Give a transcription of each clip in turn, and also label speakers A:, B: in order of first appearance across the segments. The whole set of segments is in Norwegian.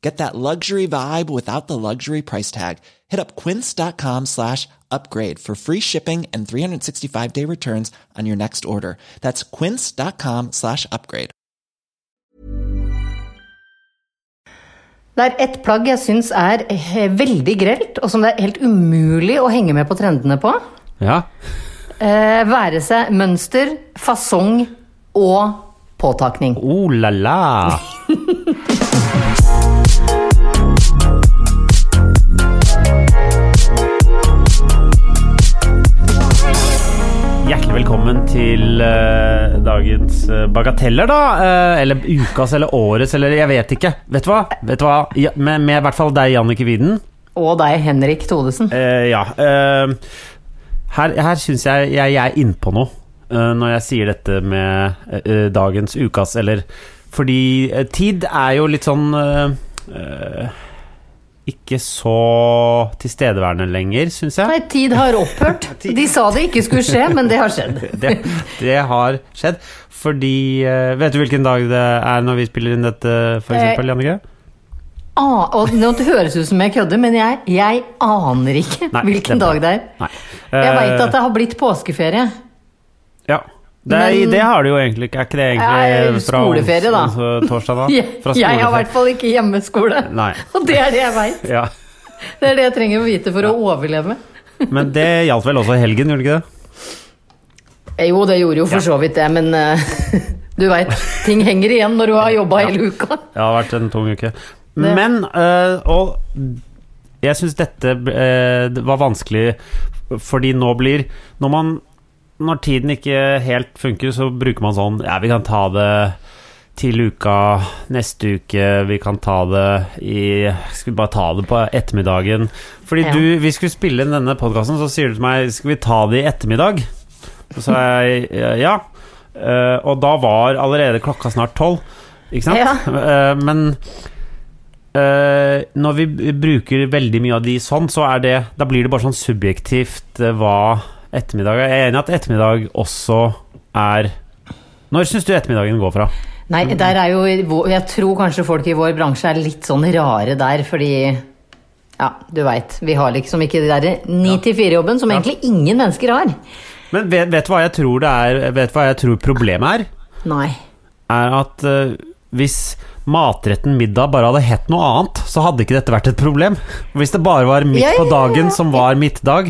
A: Get that luxury vibe without the luxury price tag. Hit up quince.com slash upgrade for free shipping and 365 day returns on your next order. That's quince.com slash upgrade.
B: Det er ett plagg jeg syns er eh, veldig grelt, og som det er helt umulig å henge med på trendene på.
C: Ja.
B: Eh, være seg mønster, fasong og påtakning.
C: Oh la la. Hjertelig velkommen til eh, dagens eh, bagateller, da. eh, eller ukas eller årets eller jeg vet ikke. Vet du hva? Vet du hva? Ja, med, med i hvert fall deg, Jannicke Widen.
B: Og deg, Henrik Thodesen.
C: Eh, ja. eh, her her syns jeg, jeg jeg er innpå noe eh, når jeg sier dette med eh, eh, dagens ukas, eller Fordi eh, tid er jo litt sånn eh, eh, Ikke så tilstedeværende lenger, syns jeg.
B: Nei, tid har opphørt. De sa det ikke skulle skje, men det har skjedd.
C: Det, det har skjedd. Fordi eh, Vet du hvilken dag det er når vi spiller inn dette,
B: Eh,
C: f.eks., Jannicke?
B: Ah, og nå høres det ut som jeg kødder, men jeg, jeg aner ikke
C: Nei,
B: hvilken
C: det er bra.
B: dag det er.
C: Nei.
B: Jeg veit
C: Eh,
B: at det har blitt påskeferie.
C: Ja. Det, er,
B: Men-
C: det har du jo egentlig ikke. Er ikke det
B: Nei,
C: egentlig fra
B: skoleferie, da.
C: ons- torsdag, da?
B: Jeg,
C: Fra
B: jeg har i
C: skoleferie.
B: hvert fall ikke hjemmeskole.
C: Nei.
B: Og det er det jeg veit.
C: Ja.
B: Det er det jeg trenger å vite for å overleve.
C: Men det gjaldt vel også helgen, gjorde det ikke det?
B: Eh, Jo, det gjorde jo for så vidt det, men eh, du veit, ting henger igjen når du har jobba hele uka.
C: Det har vært en tung uke. Men eh, Og jeg syns dette eh, det var vanskelig, fordi nå blir Når man Når tiden ikke helt funker, så bruker man sånn Ja, vi kan ta det til uka, neste uke, vi kan ta det i Skal vi bare ta det på ettermiddagen? Fordi
B: Ja.
C: du, vi skulle spille inn denne podkasten, så sier du til meg Skal vi ta det i ettermiddag? Så sa jeg ja. Eh, og da var allerede klokka snart tolv, ikke sant? Eh, men eh, når vi b- bruker veldig mye av de sånn, så er det Da blir det bare sånn subjektivt eh, hva ettermiddag er. Jeg er enig i at ettermiddag også er Når syns du ettermiddagen går fra?
B: Nei, der er jo Jeg tror kanskje folk i vår bransje er litt sånn rare der, fordi Ja, du veit. Vi har liksom ikke det derre ni til fire-jobben som
C: Ja.
B: egentlig ingen mennesker har.
C: Men vet, vet du hva jeg tror det er Vet du hva jeg tror problemet er?
B: Nei.
C: Er at eh, hvis matretten middag bare hadde hett noe annet, så hadde ikke dette vært et problem. Hvis det bare var midt
B: Ja, ja,
C: på dagen
B: ja.
C: som var middag.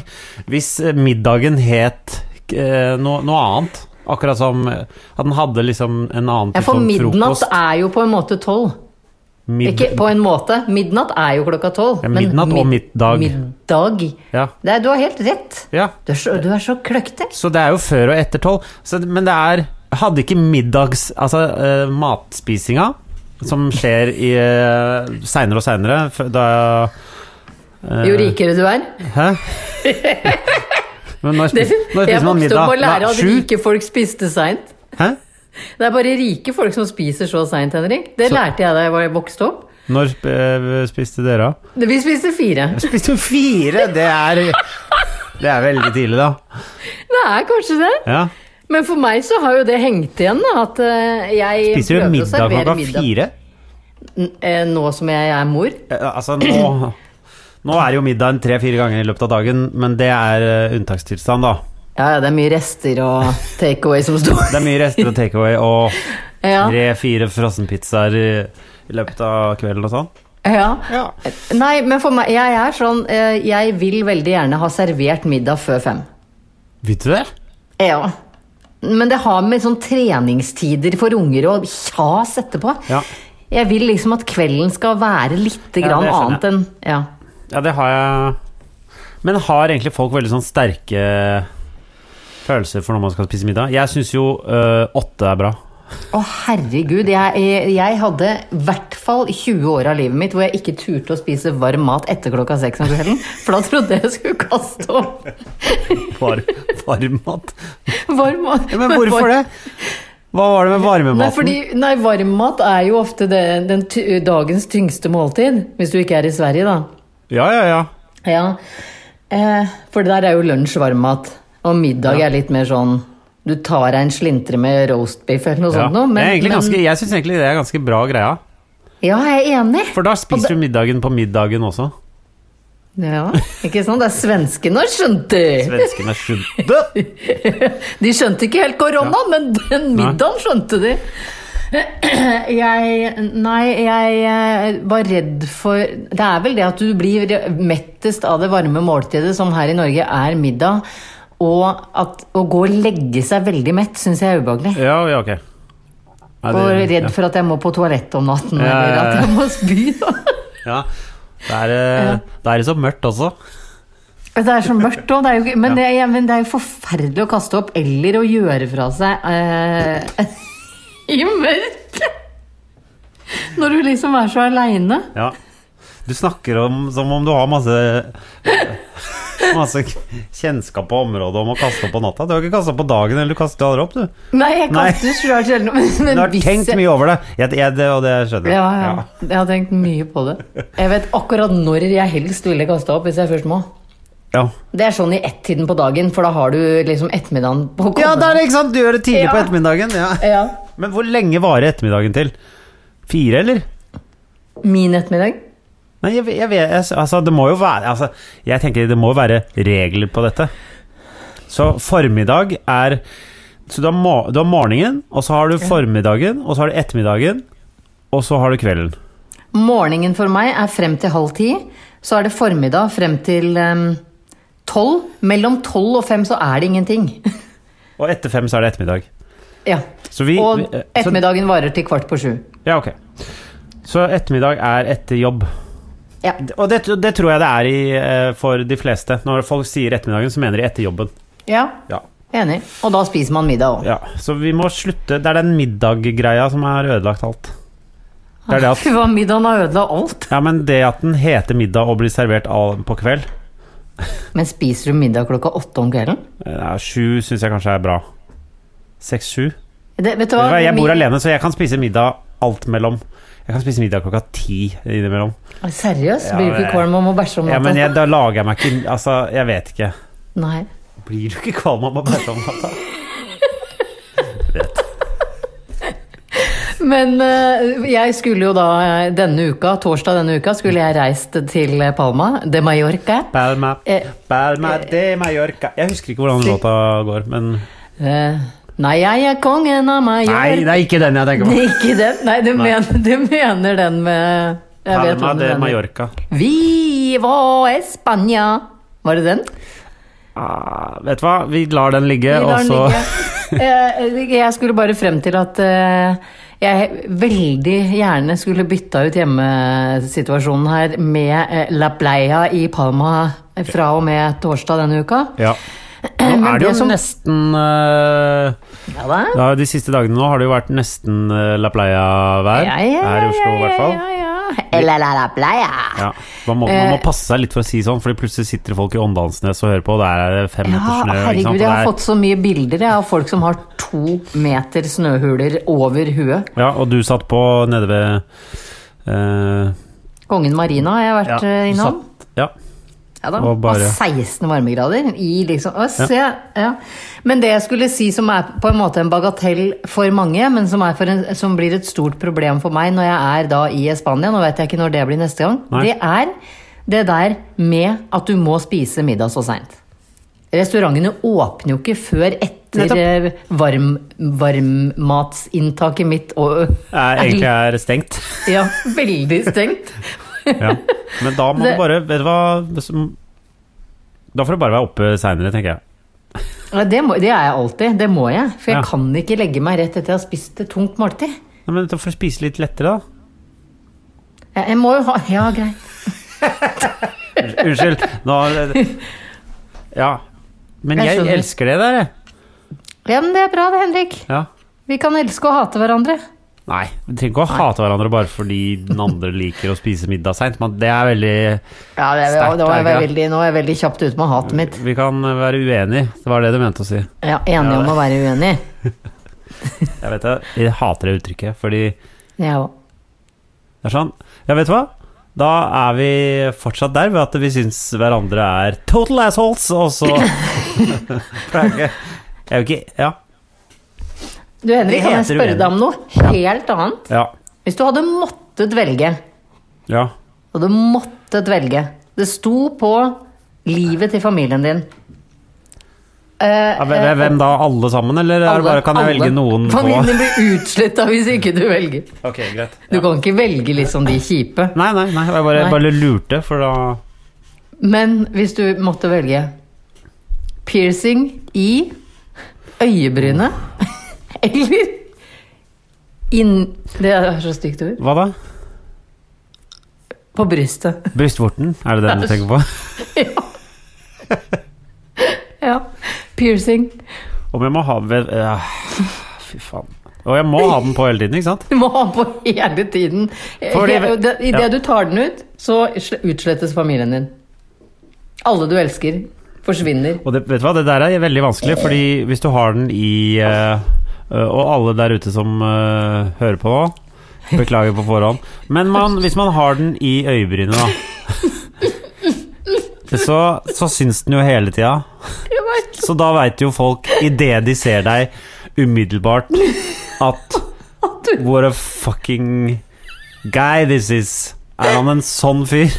C: Hvis eh, middagen het eh, noe, noe annet. Akkurat som eh, at den hadde liksom en annen
B: Ja,
C: type
B: for
C: sånn
B: midnatt
C: frokost.
B: er jo på en måte tolv.
C: Mid-
B: Ikke på en måte. Midnatt er jo klokka tolv.
C: Ja, midnatt og middag.
B: Middag.
C: Ja.
B: Det er, du har helt rett.
C: ja.
B: Du er så, du er så kløktig.
C: Så det er jo før og etter tolv. Så- Men det er Hadde ikke middags... Altså eh, matspisinga, som skjer i uh, seinere og seinere, da eh,
B: Jo rikere du er.
C: Hæ? Men når
B: Det,
C: spiser, når
B: jeg
C: spiser man
B: vokste
C: middag?
B: opp med å lære at
C: Sju?
B: rike folk spiste seint.
C: Hæ?
B: Det er bare rike folk som spiser så seint, Henrik. Det
C: Så-
B: lærte jeg da jeg var- vokste opp.
C: Når sp- eh, spiste dere? da?
B: Vi spiste fire.
C: Spiste jo fire! Det er Det er veldig tidlig, da.
B: Det er kanskje det.
C: Ja.
B: Men for meg så har jo det hengt igjen, da. At eh, jeg
C: Spiser du
B: prøver å
C: middag
B: servere
C: klokka
B: middag.
C: fire?
B: N- eh, Nå som jeg er mor.
C: Eh, Altså, nå Nå er jo middagen tre-fire ganger i løpet av dagen, men det er eh, unntakstilstand, da.
B: Ja, ja, det er mye rester og takeaway som
C: Det er
B: står.
C: mye rester og takeaway og
B: Ja,
C: tre-fire frossenpizzaer i, i løpet av kvelden og sånn.
B: ja.
C: Ja.
B: Nei, men for meg Jeg er sånn eh, Jeg vil veldig gjerne ha servert middag før fem.
C: Vet du det?
B: Ja. Men det har med sånn treningstider for unger og kjas etterpå.
C: Ja.
B: Jeg vil liksom at kvelden skal være litt
C: Ja,
B: grann
C: det skjønner
B: annet enn ja.
C: Ja, det har jeg. Men har egentlig folk veldig sånn sterke følelser for når man skal spise middag? Jeg syns jo øh, åtte er bra.
B: Å, herregud. Jeg, jeg hadde i hvert fall 20 år av livet mitt hvor jeg ikke turte å spise varm mat etter klokka seks om kvelden. For da trodde jeg jeg skulle kaste opp
C: Var, varm mat.
B: varm mat.
C: Ja, men hvorfor det? Hva var det med
B: Nei,
C: varmematen?
B: fordi, nei, varmmat er jo ofte det, den ty dagens tyngste måltid. Hvis du ikke er i Sverige, da.
C: Ja, ja, ja.
B: Ja. Eh, for der er jo lunsj varmmat. Og middag er litt mer sånn Du tar deg en slintre med roastbiff eller noe
C: ja.
B: sånt Sånn noe.
C: det er egentlig
B: men-
C: ganske, jeg syns egentlig det er ganske bra greia.
B: Ja, jeg er enig.
C: For da spiser du middagen på middagen også.
B: Ja, ikke sant? Det er svenskene, skjønte du.
C: Svenskene skjønte
B: De skjønte ikke helt korona, men den
C: Nei.
B: middagen skjønte de. Jeg Nei, jeg eh, var redd for Det er vel det at du blir mettest av det varme måltidet, som her i Norge er middag. Og at å gå og legge seg veldig mett syns jeg er ubehagelig.
C: Ja, ja, ok. Nei,
B: Og
C: det-
B: redd for at jeg må på toalettet om natten,
C: Ja, ja,
B: eller
C: ja.
B: at jeg må spy.
C: Ja. Det er, eh, det er så mørkt også.
B: Det er så mørkt òg. Men, det er- men det er jo forferdelig å kaste opp eller å gjøre fra seg eh, i mørket. Når du liksom er så aleine.
C: Ja. Du snakker om, som om du har masse Masse kjennskap på området om å kaste opp på natta. Du har ikke kasta opp på dagen, eller du kaster aldri opp, du.
B: Nei, jeg
C: Nei.
B: kaster svært sjelden men- men
C: Du har
B: hvis
C: tenkt
B: jeg-
C: mye over det, jeg, jeg, det og det skjønner jeg.
B: Ja, ja. Jeg har tenkt mye på det. Jeg vet akkurat når jeg helst ville kaste opp, hvis jeg først må.
C: Ja.
B: Det er sånn i ett-tiden på dagen, for da har du liksom ettermiddagen på å komme.
C: Ja, det er det, ikke sant? Du gjør det tidlig på
B: Ja.
C: ettermiddagen. Ja.
B: Ja.
C: Men hvor lenge varer ettermiddagen til? Fire, eller?
B: Min ettermiddag.
C: Nei, jeg, jeg vet jeg, Altså, det må jo være altså, Jeg tenker det må jo være regler på dette. Så formiddag er Så du har, mo- du har morgenen, og så har du formiddagen, og så har du ettermiddagen, og så har du kvelden.
B: Morgenen for meg er frem til halv ti. Så er det formiddag frem til ehm, tolv. Mellom tolv og fem så er det ingenting.
C: Og etter fem så er det ettermiddag.
B: ja.
C: Så vi
B: Og
C: vi- eh,
B: ettermiddagen varer til kvart på sju.
C: Så, ja, ok. Så ettermiddag er etter jobb.
B: Ja.
C: Og det, det tror jeg det er i, eh, for de fleste. Når folk sier ettermiddagen, så mener de etter jobben.
B: ja.
C: Ja.
B: Enig. Og da spiser man middag òg.
C: ja. Så vi må slutte Det er den middaggreia som har ødelagt alt. Det er det at
B: Fy hva middagen har ødela alt.
C: Ja, men det at den heter middag og blir servert av- på kveld
B: Men spiser du middag klokka åtte om kvelden?
C: ja, eh, Sju syns jeg kanskje er bra. Seks-sju.
B: Det, vet du hva?
C: Jeg bor
B: Min-
C: alene, så jeg kan spise middag alt mellom. Jeg kan spise middag klokka ti innimellom.
B: Seriøst?
C: Ja,
B: Blir du ikke
C: det-
B: kvalm om å bæsje om
C: Ja,
B: natta?
C: men jeg, da lager jeg meg ikke Altså, jeg vet ikke.
B: Nei.
C: Blir du ikke kvalm av å bæsje om natta?
B: Men eh, jeg skulle jo da eh, denne uka, torsdag denne uka, skulle jeg reist til eh, Palma de Mallorca.
C: Palma,
B: Eh,
C: Palma de Mallorca Jeg husker ikke hvordan låta går, men
B: Eh, nei, jeg er kongen av
C: Nei,
B: Mallorca.
C: det er ikke den jeg tenker på.
B: Nei, ikke den. Nei, du,
C: Nei.
B: Mener, du mener den med jeg vet
C: Palma
B: hva du
C: de
B: mener.
C: Mallorca.
B: Viva España! Var det den?
C: Ah, vet du hva, vi lar den ligge,
B: Vi
C: og
B: lar den
C: så
B: ligge. Eh, Jeg skulle bare frem til at eh, jeg veldig gjerne skulle bytta ut hjemmesituasjonen her med eh, La Playa i Palma fra og med torsdag denne uka.
C: Ja. Nå
B: Men
C: er det jo
B: det som-
C: nesten eh,
B: Ja da.
C: det har jo De siste dagene nå har det jo vært nesten eh, La Playa-vær.
B: Ja, ja,
C: Her i Oslo, i
B: ja,
C: hvert fall.
B: Ja, ja. Eller La La Playa.
C: Ja. Man, må, man må
B: Eh.
C: passe seg litt for å si sånn, Fordi plutselig sitter folk i Åndalsnes og hører på, og der er det fem meter
B: Ja,
C: snø. ikke sant?
B: herregud,
C: Og
B: jeg har
C: det er-
B: fått så mye bilder jeg, av folk som har to meter snøhuler over huet.
C: ja, og du satt på nede ved eh,
B: Kongen Marina har jeg
C: ja,
B: vært eh,
C: du
B: innom.
C: satt- ja.
B: Ja da,
C: og
B: og
C: bare-
B: 16 varmegrader i liksom Å, se! Ja. Men det jeg skulle si som er på en måte en bagatell for mange, men som, er for en, som blir et stort problem for meg når jeg er da i Spania, nå vet jeg ikke når det blir neste gang,
C: Nei.
B: det er det der med at du må spise middag så seint. Restaurantene åpner jo ikke før etter eh, varm, varmmatsinntaket mitt og
C: Er, egentlig er stengt.
B: Ja, veldig stengt.
C: Ja. Men da må
B: Det-
C: du bare Vet du hva hvis- Da får du bare være oppe seinere, tenker jeg.
B: Ja, det, må, det er jeg alltid. Det må jeg. For jeg
C: Ja.
B: kan ikke legge meg rett etter jeg har spist et tungt måltid.
C: Nei, men For å spise litt lettere, da.
B: Jeg, jeg må jo ha Ja, greit.
C: Unnskyld. Nå Ja. Men
B: Jeg
C: jeg,
B: skjønner.
C: elsker det der, jeg.
B: Ja, men det er bra det, Henrik.
C: Ja.
B: Vi kan elske og hate hverandre.
C: Nei, vi trenger ikke å hate hverandre bare fordi den andre liker å spise middag seint. Men det er veldig
B: Ja, det,
C: Sterkt,
B: nå, er jeg
C: Helga.
B: veldig, nå er jeg veldig kjapt ute med hatet mitt.
C: Vi kan være uenige. Det var det du mente å si.
B: Ja, Enig om å være uenig.
C: Jeg vet det, jeg hater det uttrykket, fordi det
B: Jeg òg.
C: er sånn Ja, vet du hva? Da er vi fortsatt der ved at vi syns hverandre er total assholes, og så For det er ikke Jeg er jo ikke Ja.
B: Du Henrik,
C: Det
B: kan jeg
C: heter
B: spørre
C: uenig.
B: deg om noe helt annet?
C: Ja.
B: Hvis du hadde måttet velge,
C: ja.
B: og du måttet velge Det sto på livet til familien din. Eh,
C: Ja, Hvem, hvem da? Alle sammen, eller er det
B: alle-
C: bare kan jeg
B: alle.
C: velge noen
B: Familien
C: få?
B: din blir utsletta hvis ikke du velger.
C: Ok, greit.
B: Du
C: Ja.
B: kan ikke velge liksom de kjipe.
C: Nei, nei, nei, jeg bare,
B: Nei.
C: bare lurte, for da
B: Men hvis du måtte velge piercing i øyebrynet eller inn Det er så stygt ord.
C: Hva da?
B: På brystet.
C: Brystvorten? Er det det du tenker på?
B: Ja. Piercing.
C: Om jeg må ha ved ja. Fy faen. Og jeg må ha den på hele tiden, ikke sant?
B: Du må ha på hele tiden.
C: Fordi-
B: Idet
C: ja.
B: du tar den ut, så sl- utslettes familien din. Alle du elsker, forsvinner.
C: Og det, vet du hva, det der er veldig vanskelig, fordi hvis du har den i eh, eh, Og alle der ute som eh, hører på nå, beklager på forhånd. Men man, hvis man har den i øyebrynet, da så, så syns den jo hele tida.
B: Jeg vet.
C: Så da veit jo folk, idet de ser deg, umiddelbart at What a fucking guy this is. Er han en sånn fyr?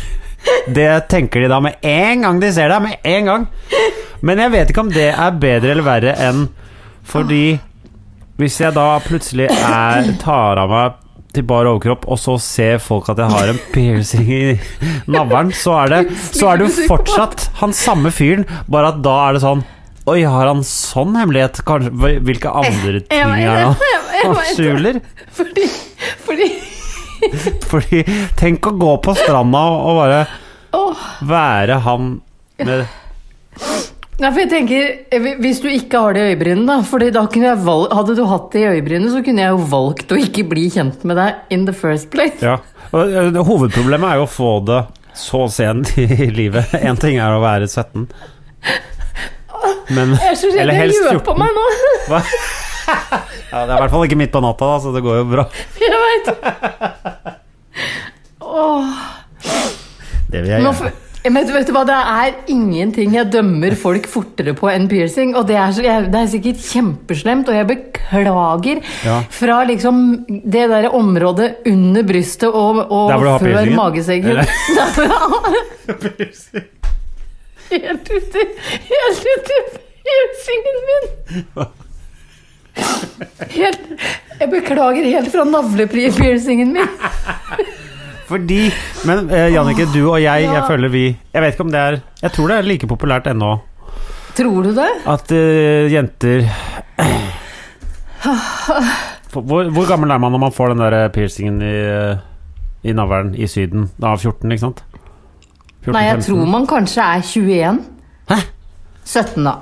C: Det tenker de da med en gang de ser deg. Med en gang. Men jeg vet ikke om det er bedre eller verre enn fordi Hvis jeg da plutselig er, tar av meg til bar overkropp, og så ser folk at jeg har en piercing i navlen, så er det Så er det jo fortsatt han samme fyren, bare at da er det sånn Oi, har han sånn hemmelighet? Kanskje, hvilke andre ting er det han- han skjuler?
B: Fordi, fordi
C: Fordi Tenk å gå på stranda og og bare
B: Åh.
C: være han med
B: Nei, for jeg tenker, eh, hvi- Hvis du ikke har det i øyebrynet, da fordi da kunne jeg valg, Hadde du hatt det i øyebrynet, så kunne jeg jo valgt å ikke bli kjent med deg in the first place.
C: Ja. Og, ø, det- Hovedproblemet er jo å få det så sent i livet. Én ting er å være 17, men
B: Jeg er så redd
C: Eller
B: jeg
C: helst
B: gjør på
C: 14.
B: meg nå.
C: hva? Ja, det er i hvert fall ikke midt på natta, da, så det går jo bra.
B: Jeg vet. Åh,
C: Det vil jeg
B: nå,
C: gjøre.
B: får- men vet du- vet du hva, Det er ingenting jeg dømmer folk fortere på enn piercing. Og det er, så, jeg, det er sikkert kjempeslemt, og jeg beklager
C: Ja.
B: fra liksom det der området under brystet og, og
C: Der hvor du har
B: før
C: piercingen?
B: magesekken.
C: Eller?
B: Der hvor jeg har- Helt uti Helt uti piercingen min. Helt, jeg beklager helt fra navlepiercingen min.
C: Fordi Men ø, Jannicke, du og jeg, jeg
B: Ja.
C: føler vi Jeg vet ikke om det er Jeg tror det er like populært ennå
B: Tror du det?
C: at ø, jenter hvor, hvor gammel er man når man får den der eh, piercingen i, ø, i navlen i Syden? Da er 14, ikke sant? 14,
B: Nei, jeg
C: 15.
B: tror man kanskje er 21.
C: Hæ?
B: 17, da.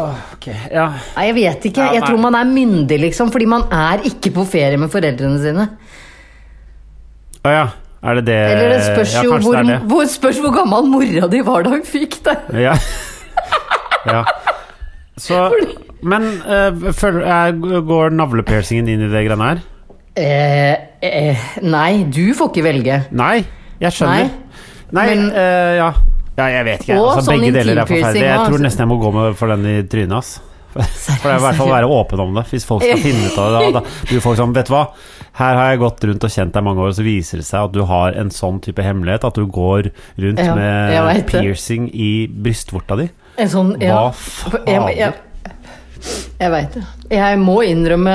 C: Ok, ja
B: Nei, jeg vet ikke.
C: Ja,
B: Jeg
C: nei.
B: tror man er myndig, liksom. Fordi man er ikke på ferie med foreldrene sine.
C: Å ja, er det det
B: Eller det spørs
C: Eh, ja,
B: jo
C: kanskje
B: hvor,
C: det er
B: hvor, spørs hvor gammel mora di var da hun fikk det.
C: det. Ja. ja. Så Men eh, føler, er, går navlepiercingen inn i det greiene her?
B: Eh, eh, nei, du får ikke velge.
C: Nei, jeg skjønner. Nei,
B: men-
C: eh, ja. ja. Jeg vet ikke. jeg.
B: Og
C: Altså,
B: sånn
C: begge deler
B: intimpiercing
C: er forferdelig. Jeg
B: også,
C: tror
B: altså.
C: nesten jeg må gå med for den i trynet. ass. For det er i hvert fall å være åpen om det, hvis folk skal finne ut av det. Da, da blir folk sånn, vet du hva, her har jeg gått rundt og kjent deg mange år, og så viser det seg at du har en sånn type hemmelighet, at du går rundt
B: Ja, jeg
C: med
B: vet det.
C: piercing i brystvorta di.
B: En sånn
C: Hva
B: ja.
C: fader?
B: Jeg, jeg, jeg veit det. Jeg må innrømme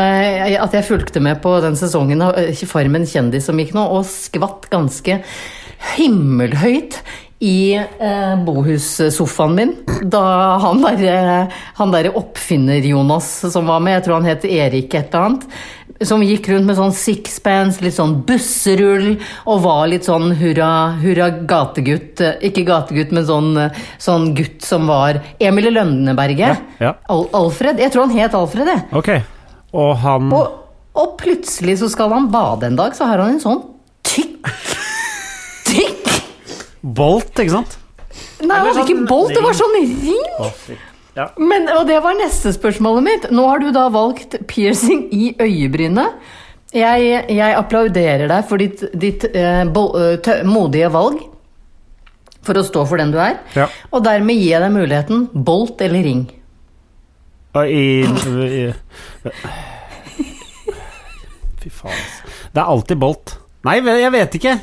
B: at jeg fulgte med på den sesongen av eh, Farmen kjendis som gikk nå, og skvatt ganske himmelhøyt i eh, bohussofaen min da han derre han der oppfinner-Jonas som var med, jeg tror han het Erik et eller annet, som gikk rundt med sånn sixpence, litt sånn busserull, og var litt sånn hurra, hurra gategutt. eh, Ikke gategutt, men sånn, eh, sånn gutt som var Emil i Lønneberget.
C: Ja, ja.
B: Al Alfred? Jeg tror han het Alfred, jeg.
C: Ok, og han
B: Og, og plutselig så skal han bade en dag, så har han en sånn tykk Tykk!
C: Bolt, ikke sant?
B: Nei, han
C: Eller
B: hadde ikke
C: sånn
B: bolt, det var
C: ring.
B: sånn ring! Men, og det var neste spørsmålet mitt. Nå har du da valgt piercing i øyebrynet. Jeg, jeg applauderer deg for ditt, ditt eh, bol- eh, tø- modige valg for å stå for den du er.
C: Ja.
B: Og dermed gi deg muligheten bolt eller ring.
C: Og i, i Fy faen. ass. Det er alltid bolt. Nei, ve- jeg vet ikke.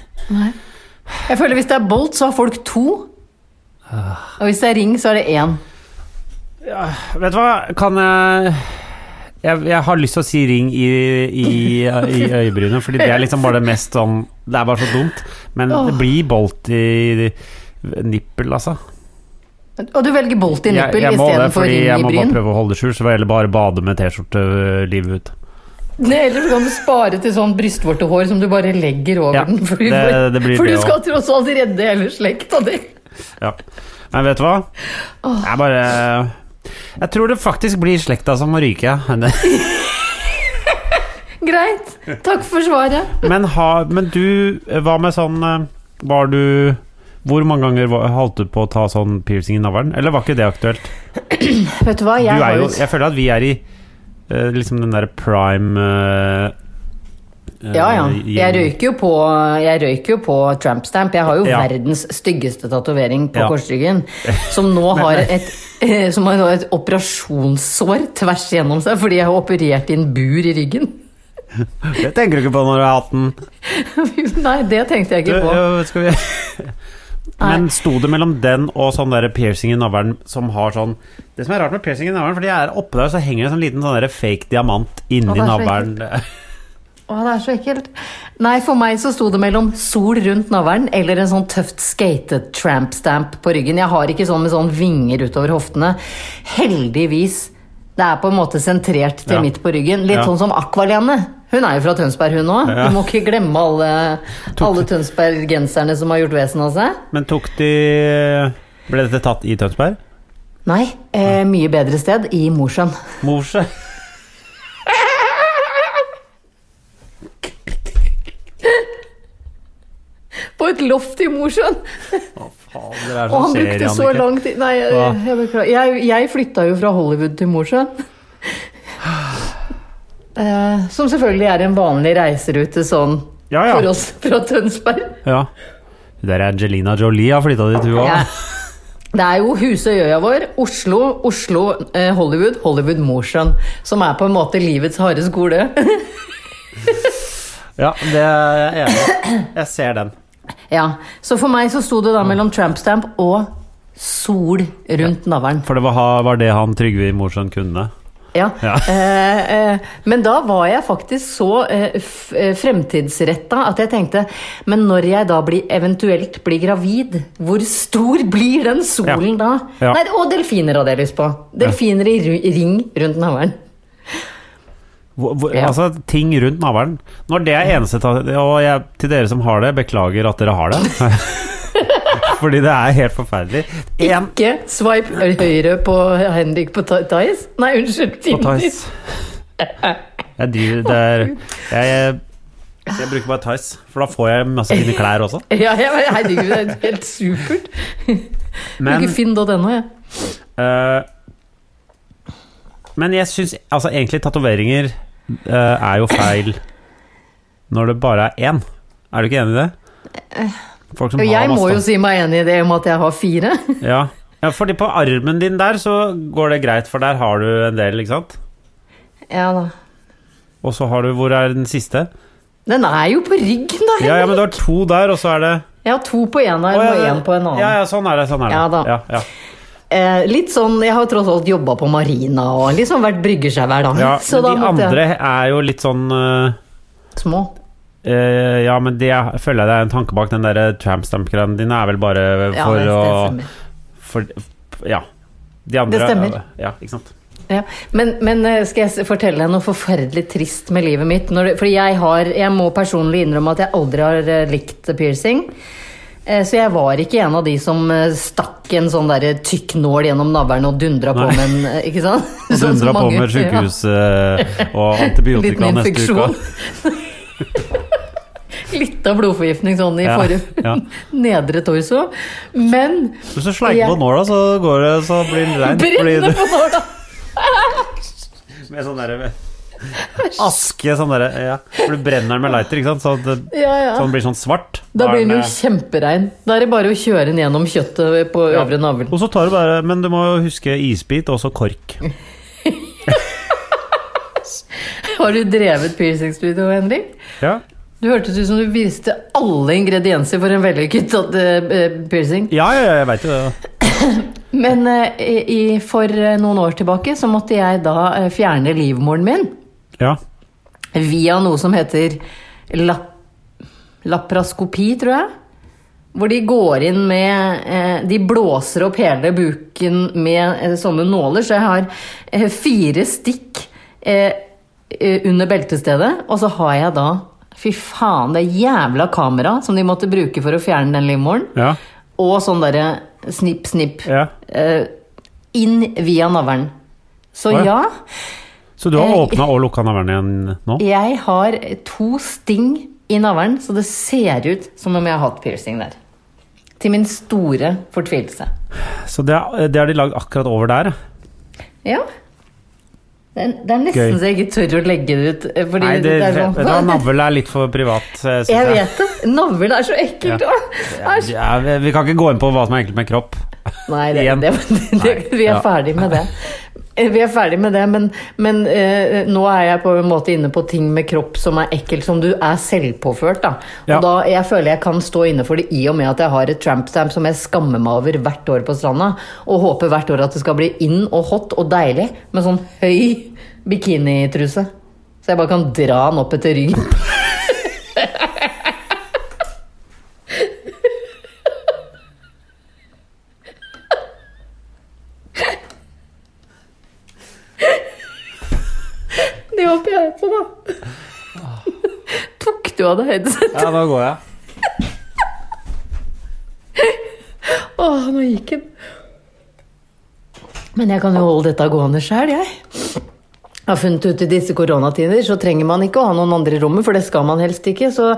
B: Jeg føler Hvis det er bolt, så har folk to.
C: Ah.
B: Og hvis det er ring, så er det én.
C: Vet du hva, kan jeg jeg, jeg har lyst til å si ring i, i, i øyebrynet, fordi det er liksom bare det mest sånn Det er bare så dumt. Men det blir bolt i nippel, altså.
B: Og du velger bolt i
C: Jeg,
B: nippel
C: jeg må det,
B: istedenfor
C: fordi jeg
B: ring i
C: må bare
B: bryn.
C: prøve å holde det skjult, så får jeg heller bare bade med T-skjorte øh, livet ut.
B: Nei, Eller så kan du spare til sånn brystvortehår som du bare legger over
C: Ja,
B: den. Fordi,
C: det- det blir
B: for
C: det
B: du skal
C: også.
B: tross alt redde hele slekta di.
C: Ja. Men vet du hva? Jeg bare Jeg tror det faktisk blir slekta som må ryke. ja.
B: Greit. Takk for svaret.
C: Men, ha, men du, hva med sånn eh, Var du Hvor mange ganger var- holdt du på å ta sånn piercing i navlen? Eller var ikke det aktuelt?
B: Vet du hva,
C: Du
B: jeg
C: er
B: har
C: jo,
B: jo
C: jeg føler at vi er i eh, liksom den derre prime eh, eh,
B: Ja, ja.
C: gjengen.
B: Jeg røyker jo på, jeg røyker jo på tramp stamp. Jeg har jo
C: Ja.
B: verdens styggeste tatovering på
C: Ja.
B: korsryggen. Som nå har et, eh, som har nå et operasjonssår tvers gjennom seg fordi jeg har operert i en bur i ryggen.
C: Det tenker du ikke på når du har hatt den.
B: Nei, det tenkte jeg
C: Du, eh,
B: ikke på.
C: ja, skal vi Men sto det mellom den og sånn der piercing i navlen som har sånn Det som er rart med piercing i navlen, fordi jeg er oppe der, så henger det en sånn liten sånn der fake diamant
B: Å,
C: inni
B: det er så
C: navlen.
B: Å, det er så ekkelt. Nei, for meg så sto det mellom sol rundt navlen eller en sånn tøft skatet tramp stamp på ryggen. Jeg har ikke sånn med sånn vinger utover hoftene. Heldigvis. Det er på en måte sentrert til
C: Ja.
B: midt på ryggen. Litt
C: Ja.
B: sånn som Akvalene. Hun er jo fra Tønsberg, hun òg.
C: Ja.
B: Du må ikke glemme alle, alle tønsberggenserne som har gjort vesen av seg.
C: Men tok de Ble dette tatt i Tønsberg?
B: Nei, eh, mye bedre sted i Mosjøen.
C: Morse?
B: På et loft i Mosjøen!
C: Faen, dere
B: Og
C: er sånn
B: han brukte så
C: serienike.
B: lang tid Nei, jeg,
C: Hva?
B: jeg beklager. Jeg, jeg flytta jo fra Hollywood til Mosjøen. Eh, som selvfølgelig er en vanlig reiserute sånn
C: Ja, ja.
B: for oss fra Tønsberg.
C: Ja. Hun der Angelina Jolie har flytta dit, hun
B: Ja.
C: òg.
B: Det er jo Husøyøya vår, Oslo, Oslo, eh, Hollywood, Hollywood Mosjøen. Som er på en måte livets harde skole.
C: Ja, det er jeg enig i. Jeg ser den.
B: ja, Så for meg så sto det da mellom tramp stamp og sol rundt navlen.
C: For det var, ha- var det han Trygve i Mosjøen kunne.
B: Ja.
C: Ja.
B: Eh, eh, men da var jeg faktisk så eh, f- eh, fremtidsretta at jeg tenkte Men når jeg da blir, eventuelt blir gravid, hvor stor blir den solen da?
C: Ja.
B: Nei, og delfiner hadde jeg lyst på. Delfiner i ru- ring rundt navlen.
C: Hvor, hvor,
B: Ja.
C: Altså, ting rundt navlen. Når det er eneste ta- Og jeg, til dere som har det, beklager at dere har det. Fordi det er helt forferdelig. Én
B: Ikke sveip høyre på Henrik på Tha- Thais. Nei, unnskyld.
C: på Tice. Jeg driver det er, jeg, jeg, jeg bruker bare Tice, for da får jeg masse fine klær også.
B: Ja, jeg, herregud, det er helt supert.
C: Men
B: Bruker finn.no, jeg.
C: Eh, Men jeg syns altså, egentlig tatoveringer eh, er jo feil når det bare er én. Er du ikke enig i det? Folk som
B: Og
C: har
B: jeg må
C: masse
B: Eh, jo si meg enig i det om at jeg har fire.
C: ja. ja, fordi på armen din der så går det greit, for der har du en del, ikke sant?
B: Ja da.
C: Og så har du Hvor er den siste?
B: Den er jo på ryggen, da.
C: Ja, ja, men du har to der, og så er det
B: Jeg har to på én arm
C: Å, ja,
B: og
C: det-
B: én på en annen.
C: Ja, ja, sånn er det. Sånn er det.
B: Ja da.
C: Ja, ja.
B: Eh, litt sånn, Jeg har tross alt jobba på marina og liksom vært bryggesjau hver dag.
C: ja
B: så da
C: men de
B: måtte
C: andre
B: jeg
C: er jo litt sånn eh,
B: Små.
C: Eh, ja, men det jeg føler jeg det er en tanke bak den der tramp stamp-greia dine er vel bare
B: Ja,
C: for
B: det, det
C: å
B: stemmer.
C: for, Ja. De andre
B: Det stemmer.
C: Ja, ikke sant.
B: Ja. Men, men eh, skal jeg s- fortelle deg noe forferdelig trist med livet mitt? Når det, fordi jeg har, jeg må personlig innrømme at jeg aldri har eh, likt piercing. Eh, Så jeg var ikke en av de som eh, stakk en sånn der tykk nål gjennom navlen og dundra på
C: Nei.
B: med en eh, Ikke sant?
C: Og
B: Sånn som
C: dundra på
B: mange-
C: med
B: Ja.
C: sykehus eh, og
B: Liten
C: antibiotika neste uke.
B: infeksjon. Litt av blodforgiftning sånn i
C: Ja,
B: forhud.
C: ja.
B: Nedre torso. Men
C: Hvis du sleiker på nåla, så, går det, så blir det reint. fordi
B: brennende
C: du-
B: på nåla!
C: Med sånn derre Aske sånn derre ja. For du brenner den med lighter, ikke sant? Så, det,
B: Ja, ja.
C: så den blir sånn svart.
B: Da blir den jo
C: eh,
B: kjemperein. Da er det bare å kjøre den gjennom kjøttet på
C: ja.
B: øvre navl.
C: Og så tar du bare Men du må jo huske isbit og så kork.
B: Har du drevet piercingstudio, Henrik?
C: Ja.
B: Du hørtes ut som du visste alle ingredienser for en vellykket eh, piercing.
C: Ja, ja, ja, jeg veit jo det.
B: Men eh, i, for eh, noen år tilbake så måtte jeg da eh, fjerne livmoren min
C: Ja.
B: via noe som heter lap lapraskopi, tror jeg. Hvor de går inn med eh, De blåser opp hele buken med eh, sånne nåler, så jeg har eh, fire stikk eh, eh, under beltestedet. Og så har jeg da Fy faen, det jævla kameraet som de måtte bruke for å fjerne den livmoren.
C: Ja.
B: Og sånn derre snipp, snipp.
C: ja.
B: Eh, inn via navlen. Så
C: Oi.
B: ja,
C: Så du har
B: Eh,
C: åpna og lukka navlen igjen nå?
B: jeg har to sting i navlen, så det ser ut som om jeg har hatt piercing der. Til min store fortvilelse.
C: Så det, er- det har de lagd akkurat over der.
B: Ja. Det er, det er nesten
C: Gøy.
B: så jeg ikke tør å legge det ut. eh, Fordi
C: Nei, det,
B: det er
C: vet du hva,
B: sånn
C: navl er litt for privat, syns
B: Jeg
C: jeg.
B: vet det. Navlen er så ekkelt.
C: Ja.
B: Ja. Æsj.
C: Ja, vi vi kan ikke gå inn på hva som er enkelt med kropp.
B: Nei, det,
C: Igjen.
B: det, det,
C: Nei,
B: vi er
C: ja.
B: ferdig med det. Eh, Vi er ferdig med det, men, men eh, nå er jeg på en måte inne på ting med kropp som er ekkelt, som du er selvpåført. da. Og
C: Ja.
B: da jeg føler jeg kan stå inne for det i og med at jeg har et trampstamp som jeg skammer meg over hvert år på stranda, og håper hvert år at det skal bli inn og hot og deilig med sånn høy bikinitruse. Så jeg bare kan dra den opp etter ryggen. Det håper jeg på, da.
C: Ah.
B: Tok du av deg headset?
C: Ja, da går jeg.
B: Åh, nå gikk den. Men jeg kan jo holde dette gående sjøl, jeg. Jeg har funnet ut i disse koronatider så trenger man ikke å ha noen andre i rommet, for det skal man helst ikke. Så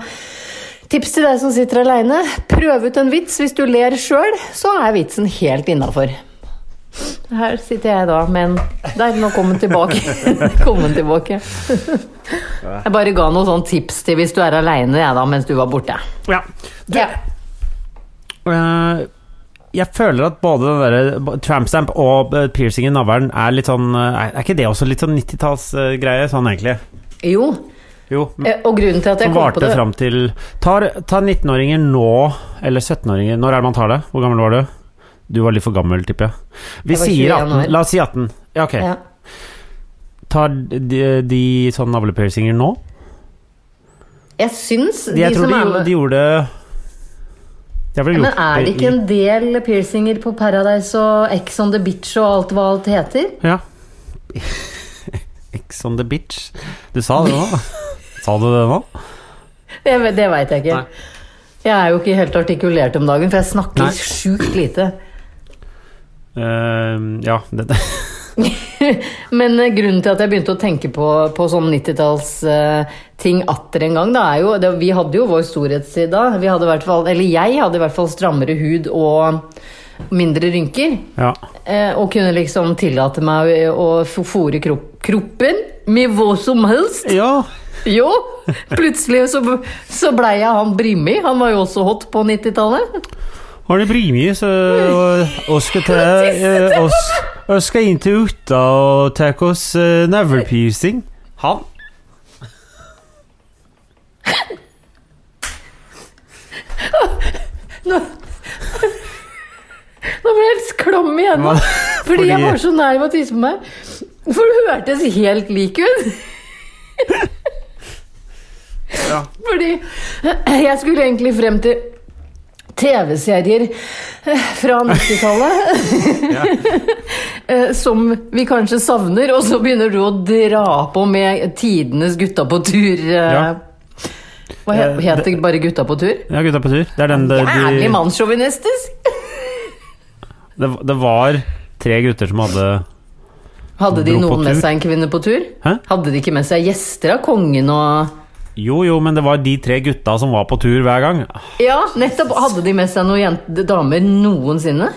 B: tips til deg som sitter aleine, prøv ut en vits. Hvis du ler sjøl, så er vitsen helt innafor. Her sitter jeg da med en Der, nå kom den tilbake. kom den tilbake. Jeg bare ga noen sånne tips til hvis du er aleine, jeg, da, mens du var borte.
C: Ja.
B: Ja.
C: Eh, jeg føler at både den eh, derre trampstamp og eh, piercing i navlen er litt sånn eh, Er ikke det også litt sånn 90-tallsgreie, sånn egentlig?
B: Jo,
C: Jo.
B: eh, og grunnen til at jeg
C: Som
B: kom på
C: varte
B: det
C: fram til Tar, tar 19-åringer nå, eller 17-åringer Når er det man tar det? Hvor gammel var du? Du var litt for gammel, tipper jeg. Vi
B: Jeg var
C: sier
B: 21 år.
C: 18. La oss si 18. Ja, ok.
B: ja.
C: Tar de, de sånne navlepiercinger nå?
B: Jeg syns de,
C: jeg tror
B: som
C: de,
B: er
C: gjorde-
B: med
C: de gjorde Det ble
B: Men
C: gjort
B: er det ikke
C: i-
B: en del piercinger på Paradise og Ex on the Beach og alt hva alt heter?
C: Ja. Ex on the bitch. Du sa det nå? Sa du det nå?
B: Det, det veit jeg ikke.
C: Nei.
B: Jeg er jo ikke helt artikulert om dagen, for jeg snakker
C: Nei.
B: sjukt lite.
C: Eh, ja. Det,
B: Men eh, grunnen til at jeg begynte å tenke på, på sånn 90-tallsting atter en gang, da er jo det, Vi hadde jo vår storhetstid da. Vi hadde i hvert fall, eller jeg hadde i hvert fall strammere hud og mindre rynker.
C: ja.
B: Eh, og kunne liksom tillate meg å å fôre krop kroppen med hva som helst.
C: ja.
B: Jo, plutselig så, så blei jeg han Brimi. Han var jo også hot på 90-tallet.
C: Arne Brimis og skal ta eh, oss- oss skal inn til Otta og ta oss eh, navlepiercing. Han?
B: Nå ble jeg helt klam igjen.
C: Hva?
B: Fordi, jeg
C: Fordi-
B: var så nær ved å tisse på meg. For du hørtes helt lik ut.
C: Ja.
B: Fordi jeg skulle egentlig frem til TV-serier eh, fra 90-tallet eh, som vi kanskje savner, og så begynner du å dra på med tidenes Gutta på tur. eh,
C: Ja.
B: Hva he-
C: Eh,
B: heter
C: det-
B: det bare Gutta på tur?
C: ja, gutta på tur. Det er den det,
B: Jævlig
C: de,
B: mannssjåvinistisk!
C: det, det var tre gutter som hadde
B: Hadde de
C: Dro på
B: noen med
C: tur.
B: seg en kvinne på tur?
C: Hæ?
B: Hadde de ikke med seg gjester av kongen og
C: Jo, jo, men det var de tre gutta som var på tur hver gang. Ah,
B: Ja, nettopp. Hadde de med seg noen jente, damer noensinne?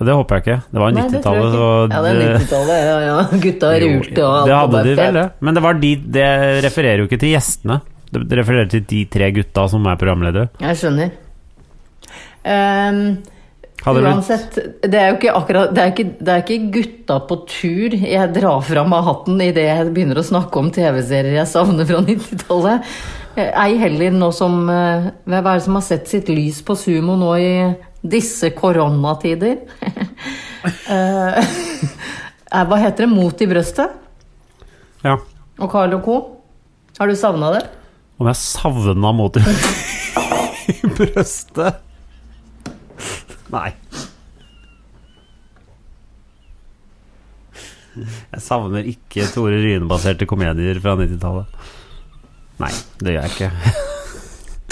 C: Det håper jeg ikke. Det var
B: Nei, det tror
C: 90-tallet,
B: jeg
C: så
B: ikke. Ja, det er
C: det-
B: 90-tallet. Ja, ja. Gutta
C: Jo,
B: rulte og alt.
C: Det
B: var
C: hadde
B: bare
C: de
B: fett.
C: vel, det. Men det, var de, det refererer jo ikke til gjestene. Det det refererer til de tre gutta som er programledere.
B: Jeg skjønner. Ehm,
C: Hadde det blitt-
B: Uansett, det er jo ikke akkurat det er ikke, det er ikke gutta på tur jeg drar fram av hatten idet jeg begynner å snakke om TV-serier jeg savner fra 90-tallet. Eh, Ei heller nå som eh, Hva er det som har sett sitt lys på sumo nå i disse koronatider? Eh, eh, hva heter det? Mot i brøstet?
C: ja.
B: Og Carl og co.? Har du savna det?
C: Om jeg savna mot i brøstet? Nei. Jeg savner ikke Tore Ryne-baserte komedier fra 90-tallet. Nei, det gjør jeg ikke.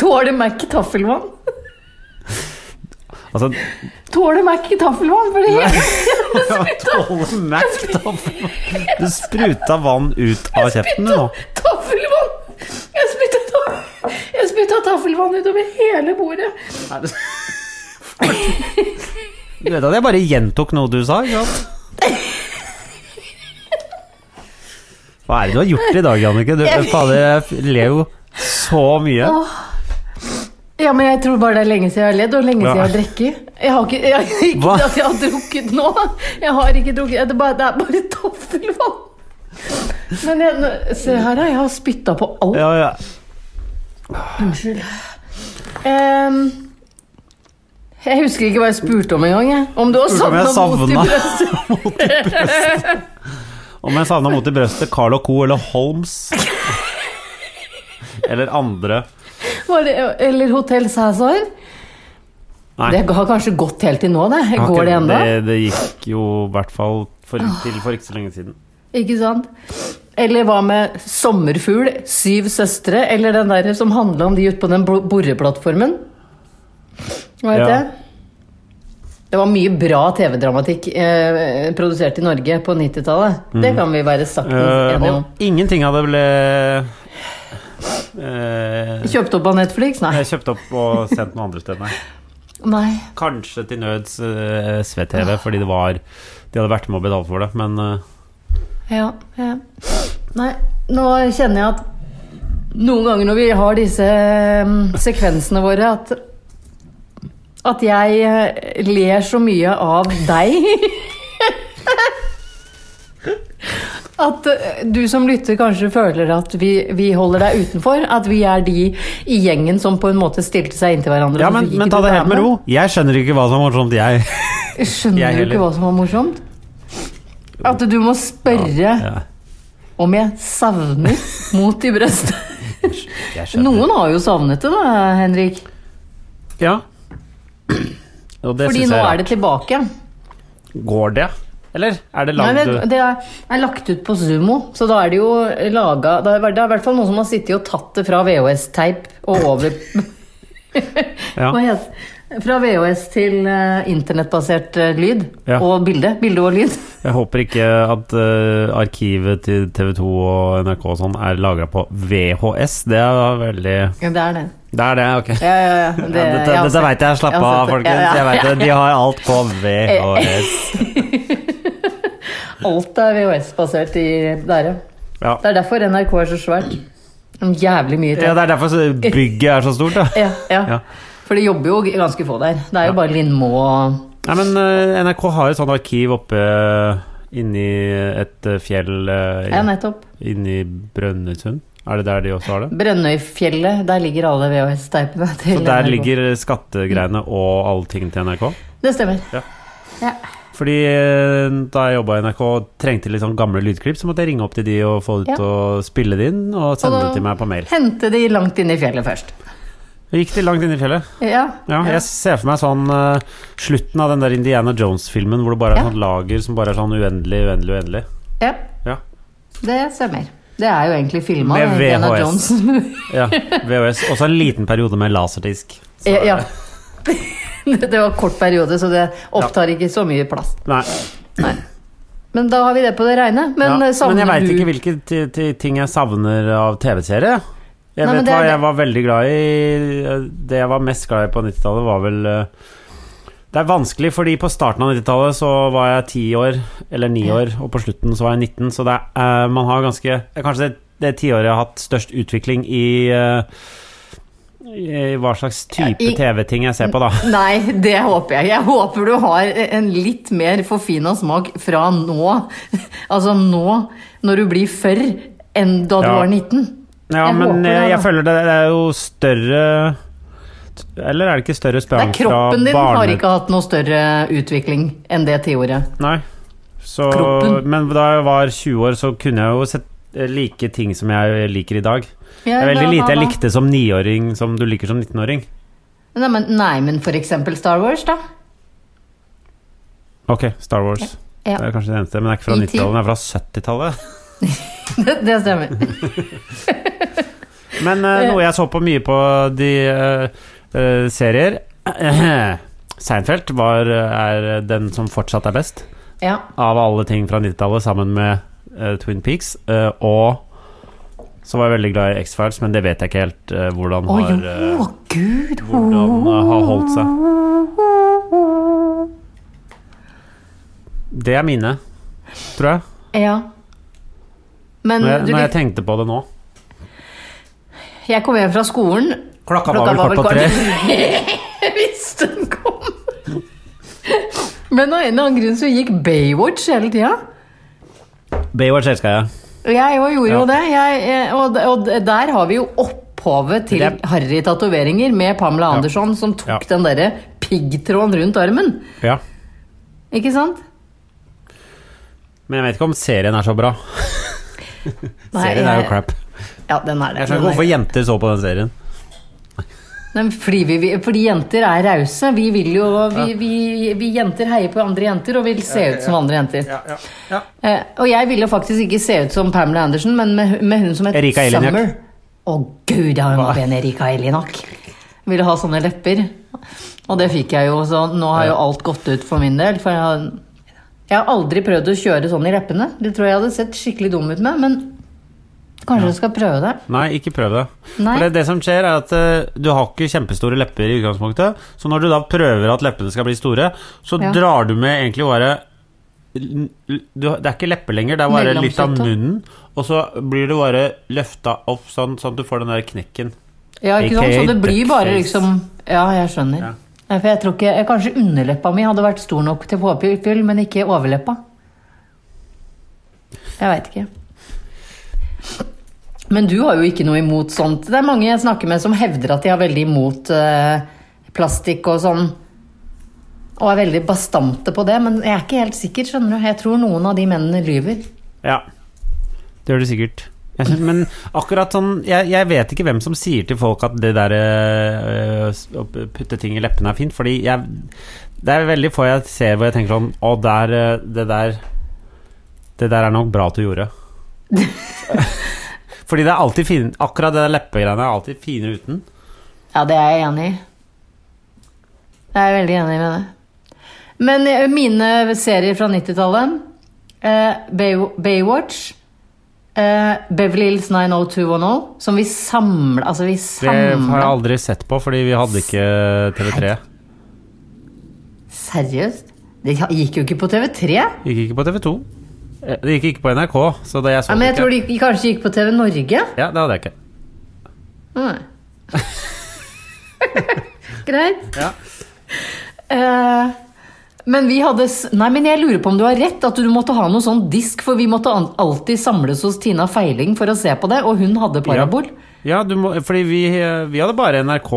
B: Tåler Mac taffelvann?
C: Altså,
B: Tåler Mac taffelvann? For det hele
C: Tåle Mac, da. Du spruta vann ut av kjeften, du nå.
B: Taffelvann! Jeg spytta, ta jeg spytta taffelvann utover hele bordet.
C: Du vet at jeg bare gjentok noe du sa, ikke sant? Hva er det du har gjort i dag, Jannicke? Du fader, jeg ler jo så mye.
B: Ja, men jeg tror bare det er lenge siden jeg har ledd, og lenge siden
C: Ja.
B: jeg har drukket. Jeg har ikke, jeg, ikke
C: Hva?
B: at jeg har drukket nå. Jeg har ikke drukket. Det er bare, det er bare taffelvann. Men jeg, nå- se her, da. Jeg har spytta på alt.
C: Ja, ja.
B: Unnskyld. Ehm, jeg husker ikke hva jeg spurte om engang. jeg. Om du har
C: Spurte om
B: savna
C: jeg
B: mot i
C: savna.
B: brøstet?
C: Om jeg savna mot i brøstet Carl og Co. eller Holmes. Eller andre.
B: Var det- Eller Hotell Cæsar?
C: Nei.
B: Det har kanskje gått helt til nå, det.
C: jeg har
B: Går
C: ikke-
B: det ennå?
C: Det, det gikk jo i hvert fall for, til for ikke så lenge siden.
B: Ikke sant? Eller hva med Sommerfugl, Syv søstre, eller den der som handla om de ute på den bor- boreplattformen? Hva het
C: Ja.
B: det? Det var mye bra TV-dramatikk eh, produsert i Norge på 90-tallet. Det kan vi være saktens
C: Mhm. Eh,
B: enige om.
C: og ingenting av det ble eh,
B: Kjøpt opp av Netflix? Nei.
C: Jeg kjøpte opp og sendt noen andre steder. nei.
B: Nei.
C: Kanskje til nøds uh, SVTV, fordi det var De hadde vært med og betalt for det, men eh,
B: Ja, ja. Nei, nå kjenner jeg at noen ganger når vi har disse mm, sekvensene våre, at at jeg eh, ler så mye av deg. At eh, du som lytter kanskje føler at vi, vi holder deg utenfor. At vi er de i gjengen som på en måte stilte seg inntil hverandre.
C: Ja,
B: så
C: men,
B: fikk
C: men
B: ikke
C: ta
B: du
C: det
B: være
C: helt med ro. Jeg skjønner ikke hva som er morsomt, jeg. Jeg
B: Skjønner du
C: heller.
B: ikke hva som var morsomt? At du må spørre
C: Ja,
B: om jeg savner mot i brøstet.
C: jeg skjønner.
B: Noen har jo savnet det, da, Henrik.
C: Ja. Og det
B: Fordi
C: syns
B: nå
C: jeg
B: er det tilbake.
C: Går det? Eller er det
B: Nei,
C: langt
B: men det er, er lagt ut på Sumo, så da er det jo laga Det er det er i hvert fall noen som har sittet og tatt det fra VHS-teip og over
C: Ja.
B: Hva heter det? Fra VHS til eh, internettbasert eh, lyd
C: Ja.
B: og bilde. Bilde og lyd.
C: Jeg håper ikke at eh, arkivet til TV 2 og NRK og sånn er lagra på VHS. Det er veldig
B: Ja, det er det.
C: Det er det, ok.
B: Ja, ja, ja. Det-
C: Ja, dette
B: jeg har
C: dette
B: sett-
C: veit jeg. Slapp
B: jeg har
C: av,
B: sett det.
C: folkens.
B: Ja,
C: Jeg
B: ja.
C: vet det. De har alt på VHS.
B: Alt er VHS-basert i der, ja.
C: Ja.
B: Det er derfor NRK er så svært. En jævlig mye
C: ja,
B: til.
C: Det er derfor så bygget er så stort, da.
B: Ja, ja.
C: Ja.
B: For det jobber jo ganske få der. Det er jo
C: Ja.
B: bare Lindmo og
C: Nei, men eh, NRK har et sånt arkiv oppe eh, inni et eh, fjell eh,
B: Ja, nettopp.
C: inni Brønnøysund. Er det der de også har det?
B: Brønnøyfjellet, der ligger alle VHS-teipene til
C: Så der
B: NRK. Mm.
C: ligger skattegreiene og alle tingene til NRK?
B: Det stemmer.
C: Ja.
B: Ja.
C: Fordi eh, da jeg jobba i NRK og trengte litt sånn gamle lydklipp, så måtte jeg ringe opp til de og få det
B: Ja.
C: til å spille det inn og
B: Og
C: sende
B: da-
C: det til meg på mail.
B: Hente de langt inn i fjellet først.
C: Jeg gikk til langt inn i fjellet.
B: Ja.
C: Ja, jeg ser for meg sånn eh, slutten av den der Indiana Jones-filmen hvor det bare
B: Ja.
C: er sånn lager som bare er sånn uendelig, uendelig, uendelig.
B: ja.
C: Ja.
B: Det stemmer. Det er jo egentlig filma.
C: Med VHS. ja VHS. Og så en liten periode med laserdisk. Så-
B: ja. Det var kort periode, så det opptar ikke så mye plass.
C: Nei.
B: Men da har vi det på det reine. Men,
C: ja.
B: eh,
C: men
B: savner
C: jeg veit
B: du
C: ikke hvilke ti- ti- ting jeg savner av TV-serie. Jeg
B: Nei, men
C: vet
B: det er
C: hva
B: det-
C: jeg var veldig glad i Det jeg var mest glad i på 90-tallet, var vel eh, Det er vanskelig, fordi på starten av 90-tallet så var jeg 10 år, eller 9
B: Ja.
C: år, og på slutten så var jeg 19, så det er, eh, man har ganske det er Kanskje det, det tiåret jeg har hatt størst utvikling i eh, i hva slags type
B: I-
C: TV-ting jeg ser på, da.
B: Nei, det håper jeg. Jeg håper du har en litt mer forfina smak fra nå. Altså nå, når du blir før, enn da du
C: Ja.
B: var 19.
C: Ja,
B: Jeg håper
C: men eh,
B: det, altså.
C: jeg, jeg
B: da.
C: føler det, det er jo større Eller er det ikke større
B: Det er
C: sprang fra
B: kroppen din har
C: barne...
B: ikke hatt noe større utvikling enn det tiåret.
C: Nei. Så,
B: Kroppen.
C: men da jeg var 20 år, så kunne jeg jo sett, eh, like ting som jeg liker i dag. Det
B: Ja,
C: er veldig
B: hva-
C: lite jeg
B: hva-
C: likte som niåring som du liker som 19-åring.
B: Nei men, nei, men for eksempel Star Wars, da.
C: Ok, Star Wars.
B: Ja.
C: Det er kanskje det eneste, men det er ikke fra
B: E.T.
C: 90-tallet, det er fra 70-tallet.
B: Det, det stemmer.
C: Men eh, noe jeg så på mye på de eh, eh, serier Seinfeld var, eh, er den som fortsatt er best.
B: Ja.
C: av alle ting fra 90-tallet sammen med eh, Twin Peaks. eh, og så var jeg veldig glad i X-Files, men det vet jeg ikke helt eh, hvordan
B: Å
C: har
B: jo,
C: eh,
B: gud!
C: Hvordan eh, har holdt seg. Det er mine, tror jeg.
B: Ja. Men
C: Når jeg,
B: Mm, du,
C: når jeg
B: jeg,
C: tenkte på det nå.
B: jeg kom hjem fra skolen,
C: Klokka var vel kvart på tre.
B: Jeg visste den kom! Men av en eller annen grunn så gikk Baywatch hele tida.
C: Baywatch elska jeg.
B: Og jeg òg gjorde jo
C: Ja.
B: det. Jeg, eh, og, d- og d- der har vi jo opphavet til
C: Det er-
B: Harry Tatoveringer med Pamela Andersson som tok
C: Ja.
B: den derre piggtråden rundt armen.
C: Ja.
B: Ikke sant?
C: Men jeg vet ikke om serien er så bra.
B: Nei,
C: serien er jo
B: jeg-
C: crap.
B: Ja, den er det. Den
C: Jeg skjønner ikke
B: er-
C: hvorfor jenter så på den serien.
B: Nei, men fordi, vi, vi- fordi jenter er rause. Vi vil jo vi, vi, vi jenter heier på andre jenter og vil se ut som andre jenter. Eh, og jeg ville faktisk ikke se ut som Pamela Andersen, men med, med hun som het
C: Erika Eliniak.
B: Summer. Å gud, jeg har jo
C: Hva?
B: ben Erika Elinak. Ville ha sånne lepper. Og det fikk jeg jo, så nå har jo alt gått ut for min del. For jeg har, jeg har aldri prøvd å kjøre sånn i leppene. Det tror jeg hadde sett skikkelig dum ut med, men kanskje jeg skal prøve det.
C: Nei, ikke prøv det.
B: Nei.
C: For det, det som skjer er at eh, Du har ikke kjempestore lepper i utgangspunktet, så når du da prøver at leppene skal bli store, så
B: Ja.
C: drar du med egentlig bare l- l- du, har- Det er ikke lepper lenger, det er bare litt av
B: Mellomsnittet.
C: munnen, og så blir du bare løfta opp sånn, sånn at du får den der knekken.
B: Ja, ikke sant?
C: AKA
B: Så det blir bare
C: duckface.
B: liksom Ja, jeg skjønner.
C: Ja.
B: Nei, for jeg tror ikke, jeg, Kanskje underleppa mi hadde vært stor nok til påfyll, men ikke overleppa. Jeg veit ikke. Men du har jo ikke noe imot sånt. Det er mange jeg snakker med som hevder at de har veldig imot eh, plastikk og sånn. Og er veldig bastante på det, men jeg er ikke helt sikker. skjønner du? Jeg tror noen av de mennene lyver.
C: Ja. Det gjør du sikkert. Jeg synes, men akkurat sånn jeg, jeg vet ikke hvem som sier til folk at det der øh, s- å putte ting i leppene er fint, fordi jeg Det er veldig få jeg ser hvor jeg tenker sånn Å, der, øh, det der Det der er nok bra at du gjorde. fordi det er alltid fin, akkurat det der leppegreiene er alltid fine uten.
B: Ja, det er jeg enig i. Jeg er veldig enig med det. Men eh, mine serier fra 90-tallet eh, Bay Baywatch eh, Beverly Hills 90210, oh, som vi samla Altså, vi
C: Det har jeg
B: samla
C: aldri sett på, fordi vi hadde ikke TV3.
B: Seriøst? Det gikk jo ikke på TV3. Ja,
C: Gikk ikke på TV2. Eh, Det gikk ikke på NRK, så det jeg så
B: men jeg
C: det
B: tror
C: ikke.
B: det gikk- kanskje gikk på TV Norge.
C: Ja, det hadde jeg ikke.
B: Nei. Greit.
C: Ja.
B: Eh, men vi hadde s- Nei, men jeg lurer på om du har rett, at du måtte ha noe sånn disk, for vi måtte an- alltid samles hos Tina Feiling for å se på det, og hun hadde parabol.
C: Ja, du må, fordi vi, vi hadde bare NRK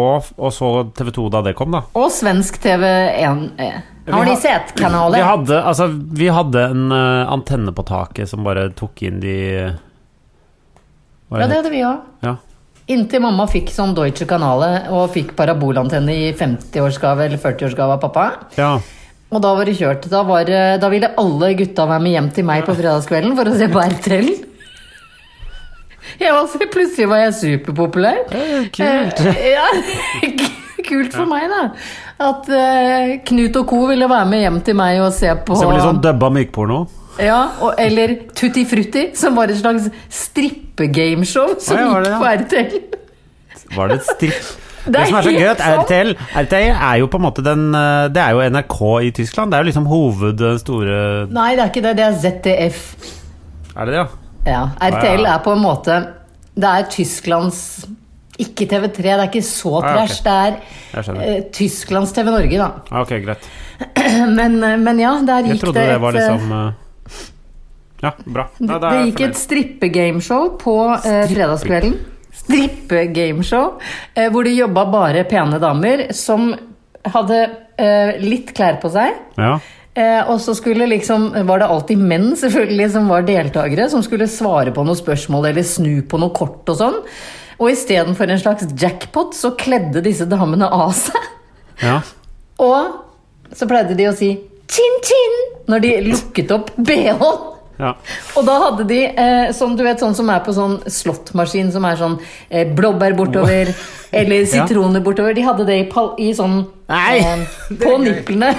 C: og så TV2 da det kom, da.
B: Og svensk TV1. Eh. Har de
C: ha-
B: sett
C: Vi
B: kanaler?
C: hadde, altså, vi hadde en eh, antenne på taket som bare tok inn de hva
B: Ja, det
C: det
B: hadde vi òg.
C: het? ja.
B: Inntil mamma fikk sånn Deutsche Kanale og fikk parabolantenne i 50-årsgave eller 40-årsgave av pappa.
C: ja.
B: Og da var det kjørt. Da, var, det- da ville alle gutta være med hjem til meg på fredagskvelden for å se på RTL. Jeg var så, plutselig var jeg superpopulær.
C: kult.
B: Eh, ja, kult for meg, da. At eh, Knut og co. ville være med hjem til meg og se på
C: Så det ble litt sånn dubba mykporno.
B: ja, og, Eller Tutti Frutti, som var et slags strippegameshow som
C: Å, ja, var
B: gikk på
C: det
B: RTL.
C: var det et stripp?
B: Det
C: Det,
B: er
C: som er så gøy,
B: helt
C: at RTL, RTL er jo på en måte den eh, Det er jo NRK i Tyskland. Det er jo liksom hoved den store
B: Nei, det er ikke det. Det er ZDF.
C: Er det det, ja?
B: Ja, RTL
C: Ah, ja.
B: er på en måte Det er Tysklands Ikke TV3, det er ikke så
C: Ah, ja,
B: trash.
C: ok. Jeg
B: Det er
C: skjønner.
B: eh, Tysklands TV Norge, da.
C: Ah, ok, greit.
B: Men, eh, men ja, der
C: Jeg
B: gikk
C: trodde
B: det
C: det
B: et,
C: var
B: eh,
C: liksom eh, Ja, bra.
B: Det,
C: Ja, da
B: det
C: er jeg
B: gikk et
C: fornøyd.
B: strippegameshow på eh, fredagskvelden. Strippegameshow, eh, hvor det jobba bare pene damer som hadde eh, litt klær på seg.
C: ja.
B: Eh, og så skulle liksom, var det alltid menn selvfølgelig som var deltakere, som skulle svare på noen spørsmål eller snu på noe kort og sånn. Og istedenfor en slags jackpot, så kledde disse damene av seg.
C: ja.
B: Og så pleide de å si 'chin chin' når de lukket opp bh-en.
C: ja.
B: Og da hadde de eh, sånn, du vet, sånn som er på sånn slåttmaskin, som er sånn eh, blåbær bortover, eller sitroner bortover. De hadde det i, pal i sånn
C: Nei,
B: På niplene.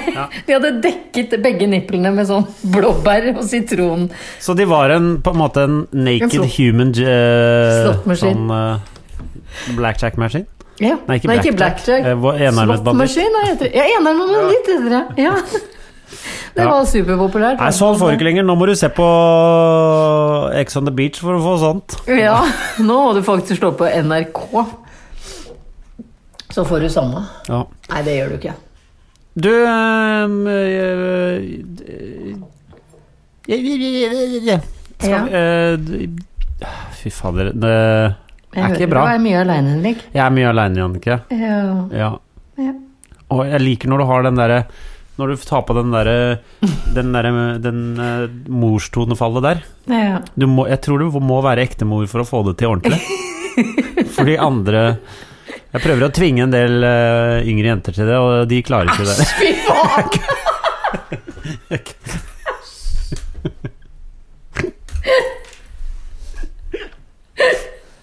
B: De hadde dekket begge niplene med sånn blåbær og sitron.
C: Så de var en, på en måte en naked
B: En slå-
C: human eh,
B: Slåttmaskin.
C: Sånn eh, blackjack-maskin?
B: Ja.
C: Nei, ikke blackjack.
B: blackjack.
C: Eh, hva- enarmet banditt.
B: Slåttmaskin, nei, heter det. Ja, enarmet banditt heter det. Ja. Det
C: Ja.
B: var superpopulært.
C: Nei, sånn får du ikke lenger. Nå må du se på Ex on the Beach for å få sånt.
B: Ja, nå må du faktisk slå på NRK. Så får du samme.
C: Ja.
B: Nei, det gjør du ikke.
C: Du ehm, eh, eh, eh,
B: Ja.
C: Skal eh, d- ah, Fy fader. Det er
B: hører
C: ikke
B: Du
C: bra.
B: er mye aleine, Henrik.
C: Jeg er mye aleine, Jannicke.
B: Ja.
C: Ja.
B: Ja.
C: Og jeg liker når du har den derre Når du tar på den derre Den derre Den eh, morstonefallet der.
B: Ja.
C: Du må, jeg tror du må være ektemor for å få det til ordentlig. For de andre Jeg prøver å tvinge en del eh, yngre jenter til det, og de klarer ikke det.
B: Fy faen!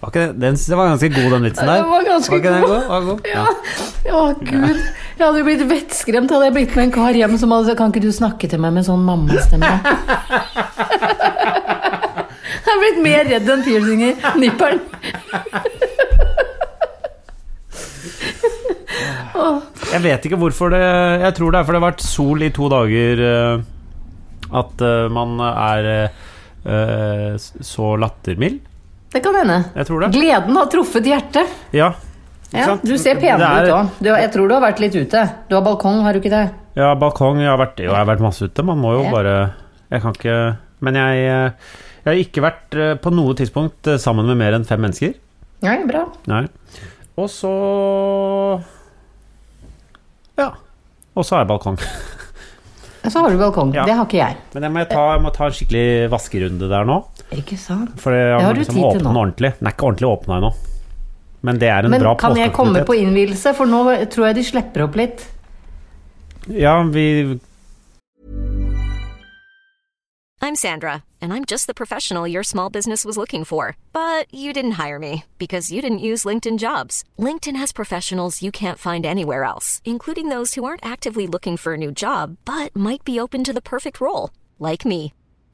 C: Var ikke det, den, det var ganske god, den vitsen der.
B: Den var ganske
C: ikke den
B: god.
C: god? Var god? Ja.
B: Å, gud. Jeg hadde jo blitt vettskremt hadde jeg blitt med en kar hjem som hadde sagt Kan ikke du snakke til meg med sånn mammastemme? Jeg er blitt mer redd enn piercinger. Nipperen.
C: Jeg vet ikke hvorfor det Jeg tror det er fordi det har vært sol i to dager eh, at eh, man er eh, eh, så lattermild.
B: Det kan hende.
C: Jeg tror det.
B: Gleden har truffet hjertet.
C: Ja. Ikke
B: Ja,
C: sant?
B: du ser penere
C: Det
B: ut
C: er-
B: òg. Jeg tror du har vært litt ute. Du har balkong, har du ikke det?
C: Ja, balkong. Jeg har vært, jo, jeg har vært masse ute. Man må jo
B: Ja.
C: bare Jeg kan ikke Men jeg, eh, jeg har ikke vært eh, på noe tidspunkt eh, sammen med mer enn fem mennesker.
B: Nei, bra.
C: Nei. Og så Ja. Og så har jeg balkong.
B: Så har du balkong.
C: Ja.
B: Det har ikke jeg.
C: Men jeg må ta, jeg må ta en skikkelig vaskerunde der nå.
B: Ikke sant?
C: For jeg
B: Det
C: må
B: har du
C: liksom
B: tid til
C: åpne
B: nå.
C: ordentlig. Den er ikke ordentlig åpna ennå. Men det er en
B: Men
C: bra
B: kan jeg komme
C: påskeaktivitet.
B: på innvielse? For nå tror jeg de slipper opp litt.
C: Ja, vi
D: I'm Sandra, and I'm just the professional your small business was looking for. But you didn't hire me because you didn't use LinkedIn jobs. LinkedIn has professionals you can't find anywhere else, including those who aren't actively looking for a new job but might be open to the perfect role, like me.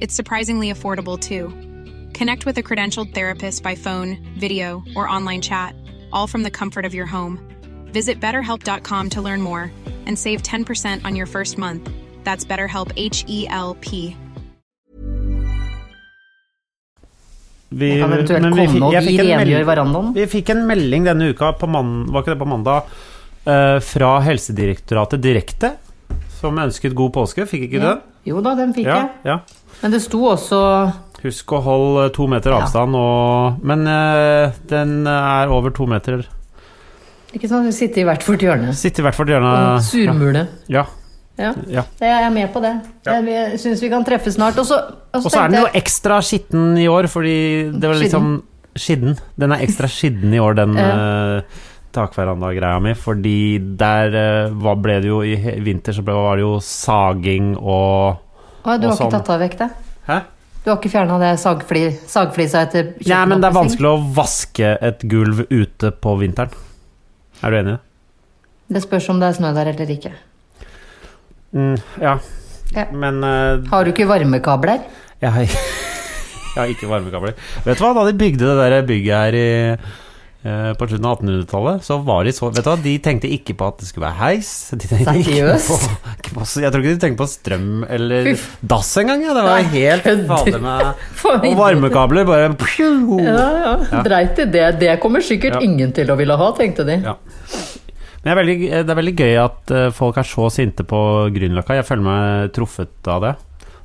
E: It's surprisingly affordable too. Connect with a credentialed therapist by phone, video, or online chat, all from the comfort of your home. Visit betterhelp.com to learn more and save 10% on your first month. That's BetterHelp H E L P.
C: Vi,
B: Jeg kan eventuelt
C: men vi
B: komme
C: fikk-
B: og
C: jeg
B: vi
C: fikk en
B: rengjør
C: melding-
B: verandaen.
C: Vi fikk en melding denne uka, på man, var ikke det på mandag, eh, fra Helsedirektoratet direkte, som ønsket god påske. Fikk ikke den?
B: Jo da, den fikk
C: Ja,
B: jeg.
C: ja.
B: Men det sto også
C: Husk å holde eh, to meter avstand og Men eh, den er over to meter.
B: Ikke sant, sitte i hvert vårt hjørne.
C: Sitter i hvert fall
B: Og
C: gjerne
B: surmule.
C: Ah, Ja.
B: Ja.
C: ja.
B: Jeg er med på det.
C: Ja.
B: Jeg syns vi kan treffes snart. Og så, og så
C: Og så er den
B: tenkte
C: jo
B: jeg-
C: ekstra skitten i år, fordi det var liksom Skidden. Den er ekstra skidden i år, den
B: Ja.
C: uh, takveranda-greia mi. Fordi der eh, hva ble det jo i he- vinter, så ble, var det jo saging og
B: Å, du har ikke
C: Og sånn.
B: tatt av vekk det?
C: Hæ?
B: Du har ikke fjerna det sagfli, sagflisa etter
C: Nei, men det er
B: kjøkkenoppussing?
C: vanskelig å vaske et gulv ute på vinteren. Er du enig i det?
B: Det spørs om det er snø der eller ikke.
C: Mm, ja.
B: Ja.
C: Men eh,
B: Har du ikke varmekabler?
C: jeg, har, jeg har ikke varmekabler. Vet du hva, da de bygde det der bygget her i eh, på slutten av 1800-tallet så var de så Vet du hva, de tenkte ikke på at det skulle være heis. De tenkte ikke på,
B: Seriøst?
C: ikke på, jeg tror ikke de tenkte på strøm eller
B: Fy f-
C: dass engang. Ja. Det
B: Nei,
C: var helt
B: kødder.
C: fader meg
B: For
C: Og varmekabler bare pju!
B: ja. Dreit i det. Det kommer sikkert
C: Ja.
B: ingen til å ville ha, tenkte de.
C: Ja. Men jeg er veldig, det er veldig gøy at eh, folk er så sinte på Grünerløkka. Jeg føler meg truffet av det.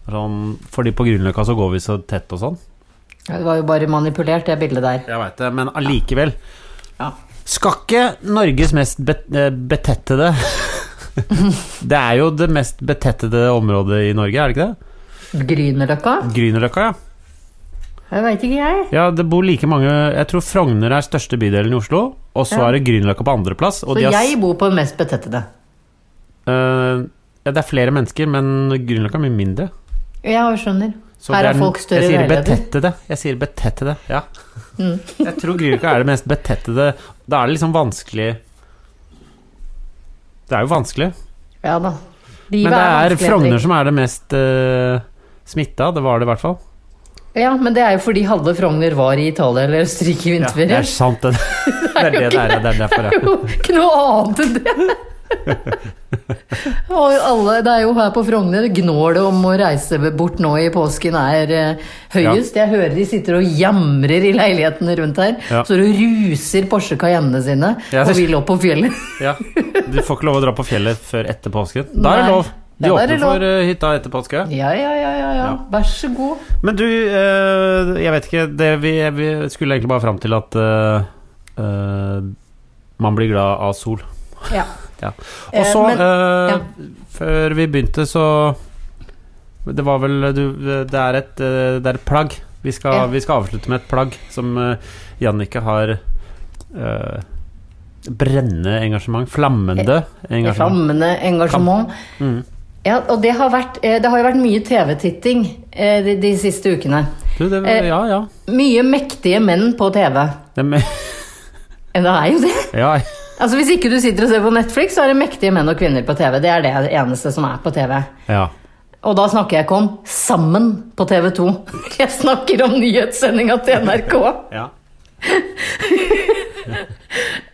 C: Sånn, fordi på Grünerløkka så går vi så tett og sånn.
B: Det var jo bare manipulert, det bildet der.
C: Jeg veit det, men allikevel.
B: Ja.
C: Skal ikke Norges mest bet eh, betettede Det er jo det mest betettede området i Norge, er det ikke det?
B: Grünerløkka?
C: Grünerløkka, ja.
B: Det veit ikke jeg.
C: ja. Det bor like mange Jeg tror Frogner er største bydelen i Oslo, og så
B: Ja.
C: er det Grünerløkka på andreplass.
B: Så jeg bor på den mest betettede.
C: eh, ja, Det er flere mennesker, men Grünerløkka er mye mindre.
B: Ja, jeg skjønner.
C: Så
B: Her
C: det
B: er folk større
C: Jeg sier
B: leiligheter. Mm.
C: betettede. Jeg sier betettede, ja. jeg tror Grünerløkka er det mest betettede Da er det liksom vanskelig Det er jo vanskelig.
B: Ja da.
C: Men det er
B: vanskelig,
C: Frogner
B: Henrik.
C: som er det mest uh, smitta. Det var det i hvert fall.
B: Ja, men det er jo fordi halve Frogner var i Italia eller Østerrike i
C: det
B: vinterferie.
C: er sant, det. Det er det det er. ja, Det er derfor,
B: Det er
C: ja.
B: jo ikke noe annet enn det. Og alle, det er jo her på Frogner gnålet om å reise bort nå i påsken er eh, høyest. Jeg hører de sitter og jamrer i leilighetene rundt her.
C: Ja.
B: Så det ruser Porsche Cayennene sine
C: Ja,
B: og
C: det-
B: vil opp på fjellet.
C: ja. Du får ikke lov å dra på fjellet før etter påske. Da er
B: Nei.
C: det lov. De
B: Ja, da er det
C: åpner for
B: lov.
C: eh, hytta etter påske.
B: Ja, ja, ja, ja, ja.
C: Ja.
B: Vær så god.
C: Men du, eh, jeg vet ikke det, vi, vi skulle egentlig bare fram til at eh, eh, man blir glad av sol.
B: Ja.
C: Ja. Og
B: Eh,
C: så,
B: men-
C: eh,
B: ja.
C: før vi begynte, så Det var vel du, det, er et, eh, det er et plagg. Vi skal,
B: Ja.
C: vi skal avslutte med et plagg som eh, Jannicke har eh, brennende engasjement.
B: Eh,
C: Flammende engasjement.
B: Flammende engasjement.
C: Mm.
B: Ja, og det har, vært, eh, det har jo vært mye TV-titting eh, de, de siste ukene.
C: Du, det,
B: Eh,
C: ja, ja.
B: Mye mektige menn på TV.
C: Det, med-
B: Eh, Det er jo det.
C: ja.
B: Altså Hvis ikke du sitter og ser på Netflix, så er det mektige menn og kvinner på TV. Det er det eneste som er på TV.
C: ja.
B: Og da snakker jeg ikke om Sammen på TV 2. Jeg snakker om nyhetssendinga til NRK.
C: ja.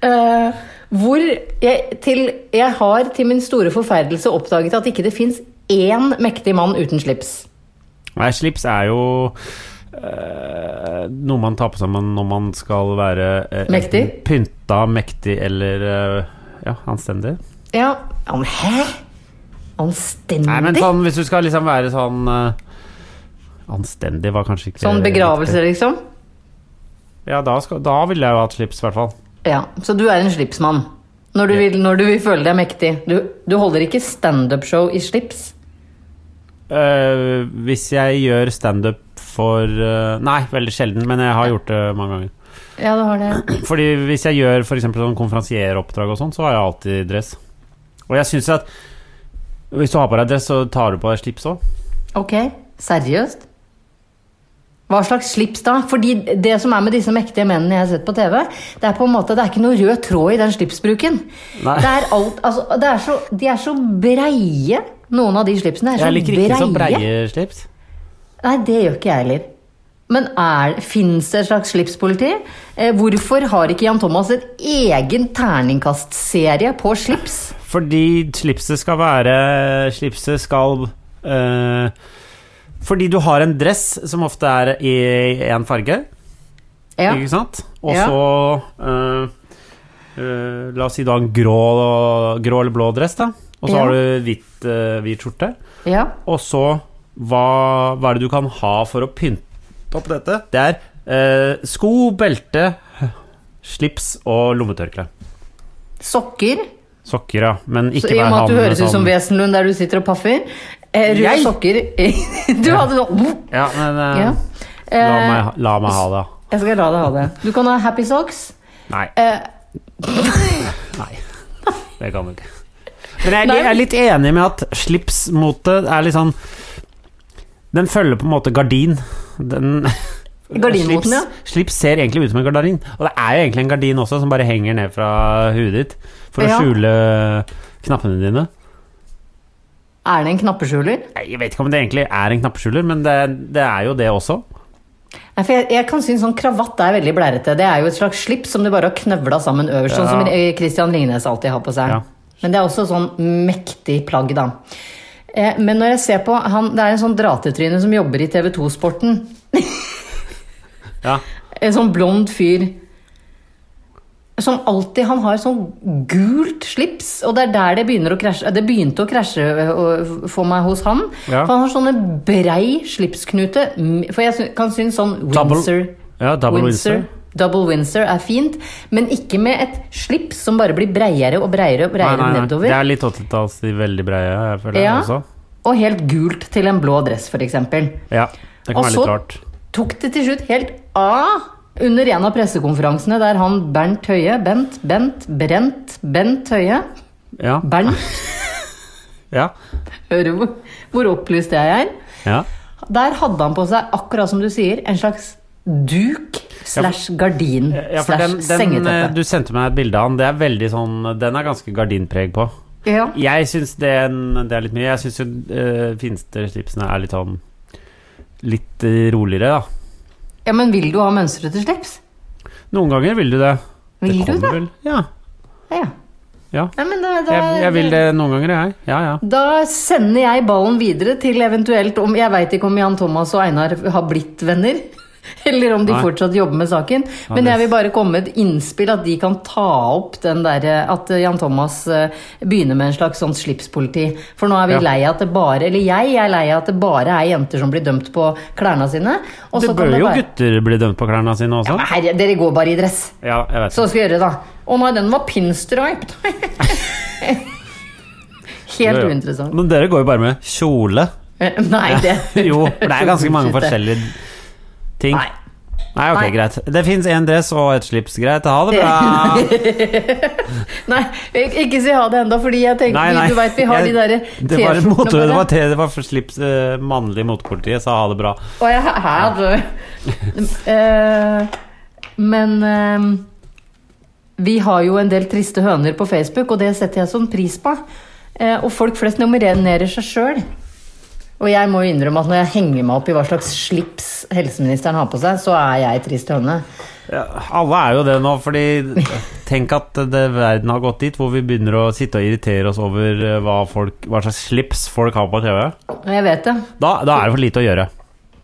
B: Eh, hvor jeg, til, jeg har til min store forferdelse oppdaget at ikke det fins én mektig mann uten slips.
C: Nei, slips er jo eh, noe man tar på seg man- når man skal være eh,
B: Mektig?
C: enten Pynta, mektig eller eh, ja, anstendig.
B: Ja, ja, men hæ? Anstendig?
C: Nei, men sånn, hvis du skal liksom være sånn eh, Anstendig var kanskje ikke
B: sånn begravelse, liksom?
C: Ja, da, skal, da ville jeg jo hatt slips, i hvert fall.
B: Ja, Så du er en slipsmann? Når du vil, når du vil føle deg mektig. Du, du holder ikke standup-show i slips?
C: Eh, hvis jeg gjør standup for eh, Nei, veldig sjelden, men jeg har gjort det mange ganger.
B: Ja, du har det.
C: Fordi hvis jeg gjør for eksempel sånn konferansieroppdrag og sånn, så har jeg alltid dress. Og jeg syns at hvis du har på deg dress, så tar du på deg slips òg.
B: Ok, seriøst? Hva slags slips da? Fordi det som er med disse mektige mennene jeg har sett på TV, det er på en måte, det er ikke noe rød tråd i den slipsbruken.
C: Nei.
B: Det er alt, altså, det er så, de er så breie, noen av de slipsene er så
C: Jeg liker
B: Sånn breie.
C: ikke så breie slips.
B: Nei, det gjør ikke jeg heller. Men fins det et slags slipspoliti? Eh, hvorfor har ikke Jan Thomas et egen terningkastserie på slips?
C: Fordi slipset skal være Slipset skal eh, Fordi du har en dress som ofte er i én farge,
B: Ja.
C: ikke sant? Og
B: Ja.
C: så eh, eh, La oss si du har en grå, grå eller blå dress, da. Og så
B: Ja.
C: har du hvitt, eh, hvit skjorte.
B: ja.
C: Og så hva, hva er det du kan ha for å pynte opp dette? Det er eh, sko, belte, slips og lommetørkle.
B: Sokker?
C: Sokker, ja. Men
B: Så
C: ikke
B: I og
C: vær
B: med at du
C: han
B: høres ut som
C: sånn-
B: Wesenlund der du sitter og paffer. Eh, røde
C: Jeg?
B: sokker Du hadde sånn
C: Ja, men eh,
B: ja.
C: la,
B: Eh,
C: meg, ha- la meg ha det.
B: Jeg skal la deg ha det. Du kan ha happy socks.
C: Nei.
B: Eh,
C: Nei. Det kan du ikke. Men jeg, jeg er litt enig med at slipsmotet er litt sånn Den følger på en måte gardin. Den
B: Gardinmoten,
C: slips,
B: ja.
C: Slips ser egentlig ut som en gardin. Og det er jo egentlig en gardin også, som bare henger ned fra huet ditt for å
B: Ja.
C: skjule knappene dine.
B: er det en knappeskjuler?
C: Nei, Jeg vet ikke om det egentlig er en knappeskjuler, men det, det er jo det også.
B: Nei, for jeg, jeg kan synes sånn kravatt er veldig blærete. Det er jo et slags slips som du bare har knøvla sammen øverst, sånn som eh, Christian Ringnes alltid har på seg.
C: Ja.
B: Men det er også sånn mektig plagg, da. Eh, men når jeg ser på han, det er en sånn dratetryne som jobber i TV 2-sporten.
C: Ja.
B: En sånn blond fyr. Som alltid, Han har sånn gult slips, og det er der det begynner å krasje. Det begynte å krasje ø, ø, for meg hos han.
C: Ja.
B: For han har sånne brei slipsknute. Mm, For jeg sy- kan synes sånn
C: Double-
B: Windsor,
C: Ja, double Windsor.
B: Double Windsor er fint, men ikke med et slips som bare blir breiere og breiere og breiere nedover.
C: Det er litt altså. 80-talls, de veldig breie, jeg føler
B: Ja.
C: også.
B: Og helt gult til en blå dress, for eksempel.
C: Ja, det kan
B: Og
C: være
B: så
C: litt rart.
B: tok det til slutt helt av under en av pressekonferansene der han Bernt Høie Bent, Bent, Brent, Bent Høie
C: Ja.
B: Bernt,
C: Ja.
B: hører du hvor, hvor opplyst jeg er?
C: ja.
B: Der hadde han på seg, akkurat som du sier, en slags duk slash gardin
C: Ja, for den,
B: slash
C: den eh,
B: sengeteppe.
C: du sendte meg et bilde av den, det er veldig sånn Den er ganske gardinpreg på.
B: Ja.
C: Jeg syns den Det er litt mye. Jeg syns jo eh, finste slipsene er litt sånn Litt eh, roligere, da.
B: ja, men vil du ha mønstrete slips?
C: Noen ganger vil du det.
B: Vil du
C: kommer
B: det?
C: vel. Ja.
B: Ja.
C: ja.
B: Nei, men da, da,
C: Jeg, jeg vil det noen ganger, jeg. Ja, ja.
B: Da sender jeg ballen videre til eventuelt om Jeg veit ikke om Jan Thomas og Einar har blitt venner. Eller om de
C: Nei.
B: fortsatt jobber med saken. Men
C: det-
B: jeg vil bare komme med et innspill at de kan ta opp den derre At Jan Thomas eh, begynner med en slags sånn slipspoliti. For nå er vi
C: Ja.
B: lei av at det bare Eller jeg er lei av at det bare er jenter som blir dømt på klærne sine. Og
C: Det
B: så kan
C: bør
B: det
C: jo
B: være-
C: gutter bli dømt på klærne sine også.
B: Herre, dere går bare i dress.
C: Ja, jeg vet.
B: Så skal vi gjøre det, da. Å nei, den var pinstriped. Helt
C: Ja, ja.
B: uinteressant.
C: Men dere går jo bare med kjole.
B: Eh, Nei, det
C: Jo, for det er ganske mange forskjellige ting.
B: Nei.
C: Nei, ok,
B: Nei.
C: greit. Det fins én dress og et slips. Greit, ha det bra.
B: Nei, ik- ikke si ha det ennå, fordi jeg tenker
C: Nei, nei.
B: Du veit vi har de
C: Jeg-
B: derre
C: Det var, en motor, det,
B: våre.
C: var te, det var for slips eh, mannlig motepolitiet, sa ha det bra.
B: Å, jeg har det. Eh, Men eh, vi har jo en del triste høner på Facebook, og det setter jeg sånn pris på. Eh, Og folk flest nominerer seg sjøl. Og jeg må jo innrømme at når jeg henger meg opp i hva slags slips helseministeren har på seg, så er jeg trist høne.
C: Ja, alle er jo det nå, fordi tenk at det, verden har gått dit hvor vi begynner å sitte og irritere oss over eh, hva, folk, hva slags slips folk har på TV.
B: Jeg vet det.
C: Da, da er det for lite å gjøre.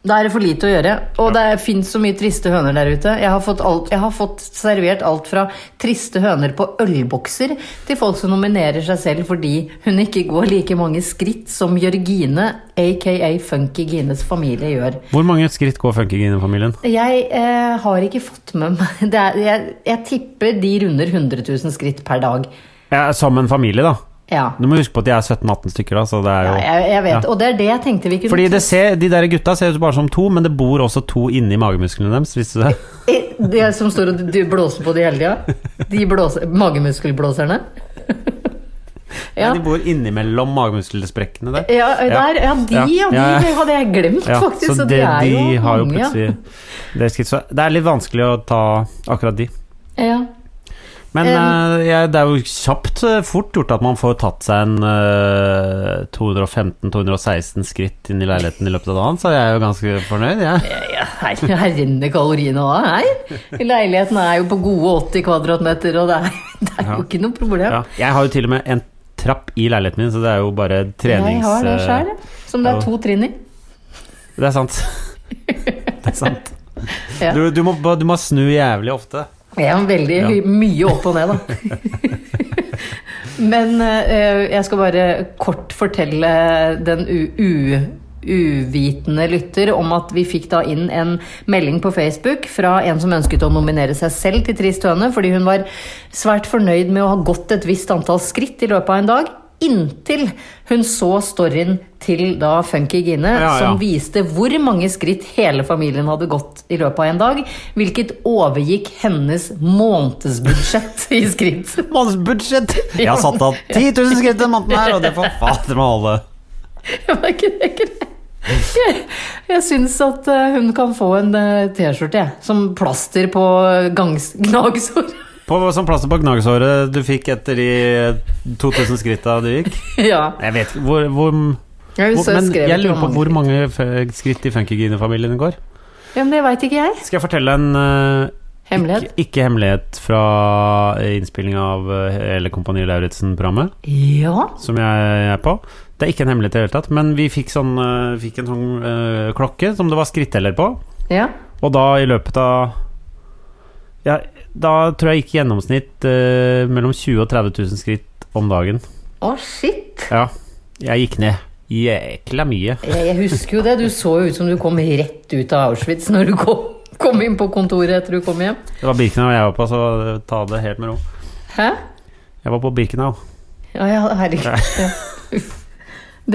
B: Da er det for lite å gjøre. Og det fins så mye triste høner der ute. Jeg har fått, alt, jeg har fått servert alt fra triste høner på ølbokser til folk som nominerer seg selv fordi hun ikke går like mange skritt som Jørgine, aka Funky Gines familie, gjør.
C: Hvor mange skritt går Funkygine-familien?
B: Jeg eh, har ikke fått med meg det er, jeg, jeg tipper de runder 100 000 skritt per dag.
C: Ja, som en familie, da.
B: Ja.
C: Du må huske på at de er 17-18 stykker, da, så det er jo
B: Jeg, jeg vet,
C: Ja.
B: Og det er det jeg tenkte vi kunne
C: Fordi det ser, De der gutta ser ut bare som to, men det bor også to inni magemusklene deres. Visste du det?
B: Eh, De som står og du blåser på de hele tida? De blåser, magemuskelblåserne? Ja.
C: De bor innimellom magemuskelsprekkene der.
B: Ja, der, ja, de, ja, de
C: Ja, ja.
B: hadde jeg glemt,
C: Ja,
B: faktisk.
C: så
B: Så
C: det,
B: de er jo
C: de har jo
B: mange, ja.
C: plutselig det, er skritt, så det er litt vanskelig å ta akkurat de.
B: Ja.
C: Men
B: Um,
C: eh, jeg, det er jo kjapt eh, fort gjort at man får tatt seg en eh, 215-216 skritt inn i leiligheten i løpet av dagen, så jeg er jo ganske fornøyd. Jeg.
B: Ja, her, her renner kaloriene òg, her. Leiligheten er jo på gode 80 kvadratmeter, og det er, det er
C: Ja.
B: jo ikke noe problem.
C: Ja. jeg har jo til og med en trapp i leiligheten min, så det er jo bare
B: jeg
C: trenings...
B: har det
C: eh,
B: sjøl, som det
C: ja.
B: er to trinn i.
C: Det er sant. det er sant.
B: Ja.
C: Du, du, må, du må snu jævlig ofte.
B: Jeg er veldig
C: Ja.
B: høy- mye opp og ned, da. Men eh, jeg skal bare kort fortelle den u... u uvitende lytter om at vi fikk da inn en melding på Facebook fra en som ønsket å nominere seg selv til Trist høne, fordi hun var svært fornøyd med å ha gått et visst antall skritt i løpet av en dag. Inntil hun så storyen til da Funky Gine,
C: Ja, ja.
B: som viste hvor mange skritt hele familien hadde gått i løpet av en dag. Hvilket overgikk hennes månedsbudsjett i skritt.
C: Månedsbudsjett! Jeg har satt av 10 000 skritt den måneden her, og det får fader meg holde.
B: Var ikke det greit? Jeg, jeg syns at eh, hun kan få en eh, T-skjorte, jeg. Som plaster på gangs, gnagsår.
C: På, som plaster på gnagsåret du fikk etter de 2000 skritta du gikk.
B: ja.
C: Jeg vet ikke hvor, hvor,
B: Jeg
C: hvor
B: husker
C: Men
B: skrev
C: jeg
B: ikke
C: lurer på
B: mange
C: hvor mange f- skritt i Funkygine-familien går.
B: skritt. Ja, men det veit ikke jeg.
C: Skal jeg fortelle en eh,
B: Hemmelighet.
C: Ikke, ikke hemmelighet fra innspilling av eh, hele Kompani Lauritzen-programmet.
B: Ja.
C: som jeg er på. Det er ikke en hemmelighet i det hele tatt, men vi fikk, sånn, eh, fikk en sånn eh, klokke som det var skritteller på,
B: ja.
C: og da i løpet av ja, Da tror jeg gikk i gjennomsnitt eh, mellom 20 000 og 30 000 skritt om dagen.
B: Å, shit.
C: Ja. Jeg gikk ned. Jækla mye.
B: Jeg, jeg husker jo det. Du så jo ut som du kom rett ut av Auschwitz når du kom, kom inn på kontoret etter du kom hjem.
C: Det var Birkenau jeg var på, så ta det helt med ro.
B: Hæ?
C: Jeg var på Birkenau.
B: Ja, ja, herregud. Ja. Uff.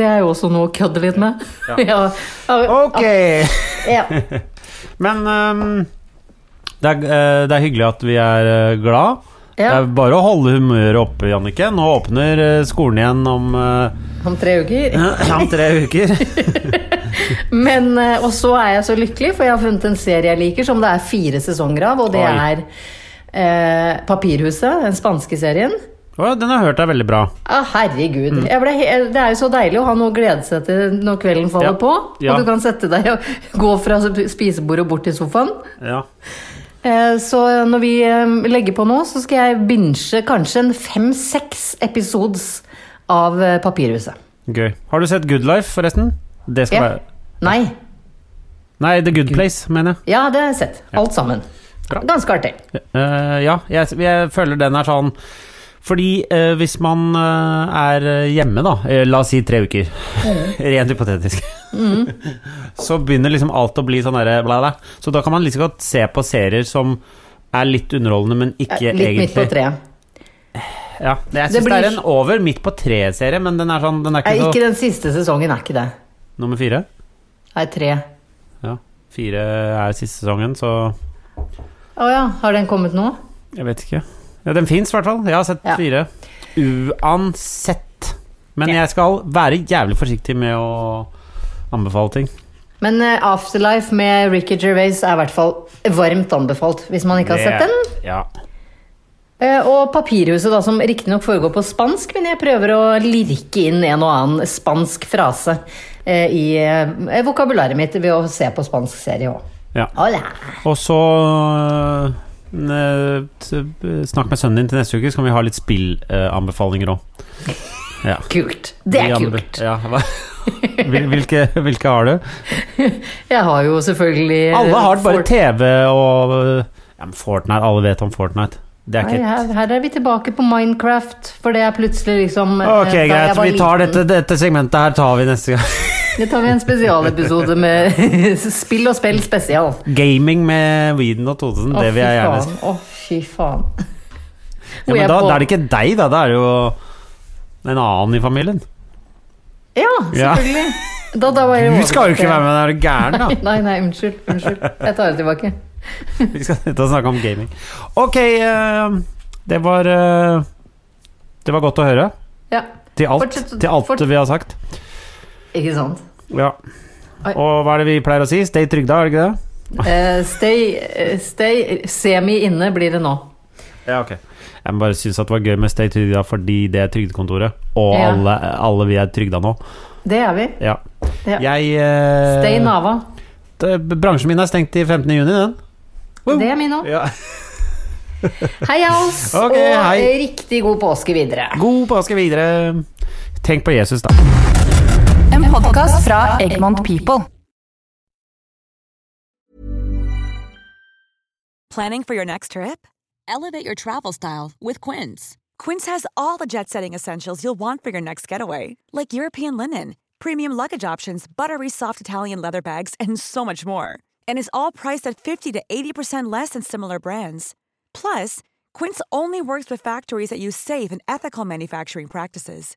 B: Det er jo også noe å kødde litt med. Ja. Ja.
C: Ok!
B: Ja.
C: Men ehm, det, er, eh, det er hyggelig at vi er eh, glad. Det
B: Ja.
C: er bare å holde humøret oppe, Jannicke. Nå åpner eh, skolen igjen om, eh,
B: Om tre uker.
C: om tre uker.
B: Men, eh, og så er jeg så lykkelig, for jeg har funnet en serie jeg liker som det er fire sesonger av, og det
C: Oi.
B: er eh, Papirhuset, den spanske serien.
C: Å, den har jeg hørt er veldig bra.
B: Ah, herregud.
C: Mm.
B: Jeg ble, he- det er jo så deilig å ha noe å glede seg til når kvelden faller
C: Ja.
B: på.
C: Ja.
B: Og du kan sette deg og gå fra spisebordet og bort til sofaen.
C: Ja.
B: Eh, Så når vi eh, legger på nå, så skal jeg binche kanskje en fem-seks episodes av eh, Papirhuset.
C: Gøy. Har du sett Good Life, forresten? Det skal
B: Ja.
C: være
B: Nei.
C: Nei, The Good Place, mener jeg.
B: Ja, det har jeg sett. Alt sammen.
C: Bra.
B: Ganske artig.
C: Eh, ja, jeg, jeg føler den er sånn fordi eh, hvis man eh, er hjemme, da, eh, la oss si tre uker,
B: Mm.
C: rent hypotetisk, så begynner liksom alt å bli sånn derre bla, bla. Så da kan man liksom godt se på serier som er litt underholdende, men
B: Eh,
C: ikke
B: Litt
C: egentlig
B: midt på treet.
C: Ja, det, jeg
B: Det
C: syns det, er
B: blir-
C: en over midt på tre-serie, men den er sånn Den er ikke,
B: Nei, ikke
C: så
B: den siste sesongen er ikke det.
C: Nummer fire?
B: Nei, tre.
C: Ja. Fire er siste sesongen, så
B: Å ja, har den kommet nå?
C: Jeg vet ikke. Ja, den fins i hvert fall. Jeg har sett
B: Ja.
C: fire. Uansett. Men jeg skal være jævlig forsiktig med å anbefale ting.
B: Men eh, Afterlife med Ricky Gervais er i hvert fall varmt anbefalt, hvis man ikke har sett den.
C: Ja.
B: Eh, Og Papirhuset, da, som riktignok foregår på spansk, men jeg prøver å lirke inn en og annen spansk frase eh, i eh, vokabularet mitt ved å se på spansk serie òg.
C: Ja.
B: Hola!
C: Og så øh, t- Snakk med sønnen din til neste uke, så kan vi ha litt spillanbefalinger òg. Ja.
B: Kult. Det er
C: De anbe-
B: kult.
C: Ja, hva? Hvil- Hvilke, hvilke har du?
B: Jeg har jo selvfølgelig eh,
C: Alle har bare
B: Fort-
C: TV og øh, ja, men Fortnite. Alle vet om Fortnite. Det er
B: Nei,
C: ikke
B: her, her er vi tilbake på Minecraft, for det er plutselig liksom eh,
C: Ok,
B: da jeg
C: greit.
B: var
C: Vi tar
B: liten.
C: dette, dette segmentet her tar vi neste gang.
B: Det tar vi en spesialepisode med spill og spill spesial. Å,
C: Gaming med Weeden og Todesen, det vil jeg
B: fy
C: gjerne se.
B: faen. Å, fy faen.
C: Ja, men da, da er det ikke deg, da. Da er det jo en annen i familien.
B: Ja,
C: Ja.
B: selvfølgelig. Da, da var jeg
C: Du
B: over-
C: skal jo ikke være med, er du gæren, da?
B: Nei, nei, unnskyld. Unnskyld. Jeg tar det tilbake.
C: Vi skal sitte og snakke om gaming. Ok, eh, det var eh, Det var godt å høre.
B: Ja,
C: Til alt,
B: Fortsett-
C: til alt
B: fort-
C: vi har sagt.
B: ikke sant.
C: Ja.
B: Oi.
C: Og hva er det vi pleier å si? Stay trygda, er det ikke det?
B: Eh, stay, eh, stay Semi inne blir det nå.
C: Ja, ok Jeg må bare synes at det var gøy med Stay Trygda fordi det er Trygdekontoret, og
B: Ja.
C: alle, alle vi er trygda nå.
B: Det er vi.
C: Ja.
B: Ja.
C: Jeg eh,
B: Stay Nava.
C: det- eh, Bransjen min er stengt til 15. juni, den. Wow.
B: Det er min nå.
C: Ja.
B: Hei, Als. og
C: Ok, hei.
B: eh, riktig god påske videre.
C: God påske videre. Tenk på Jesus, da.
F: En podkast fra Egmont People.
G: Planning for your next trip? Elevate your travel style with Quince. Quince has all the jet setting essentials you'll want for your next getaway, like European linen, premium luggage options, buttery soft Italian leather bags, and so much more. And is all priced at 50 to 80% less than similar brands. Plus, Quince only works with factories that use safe and ethical manufacturing practices.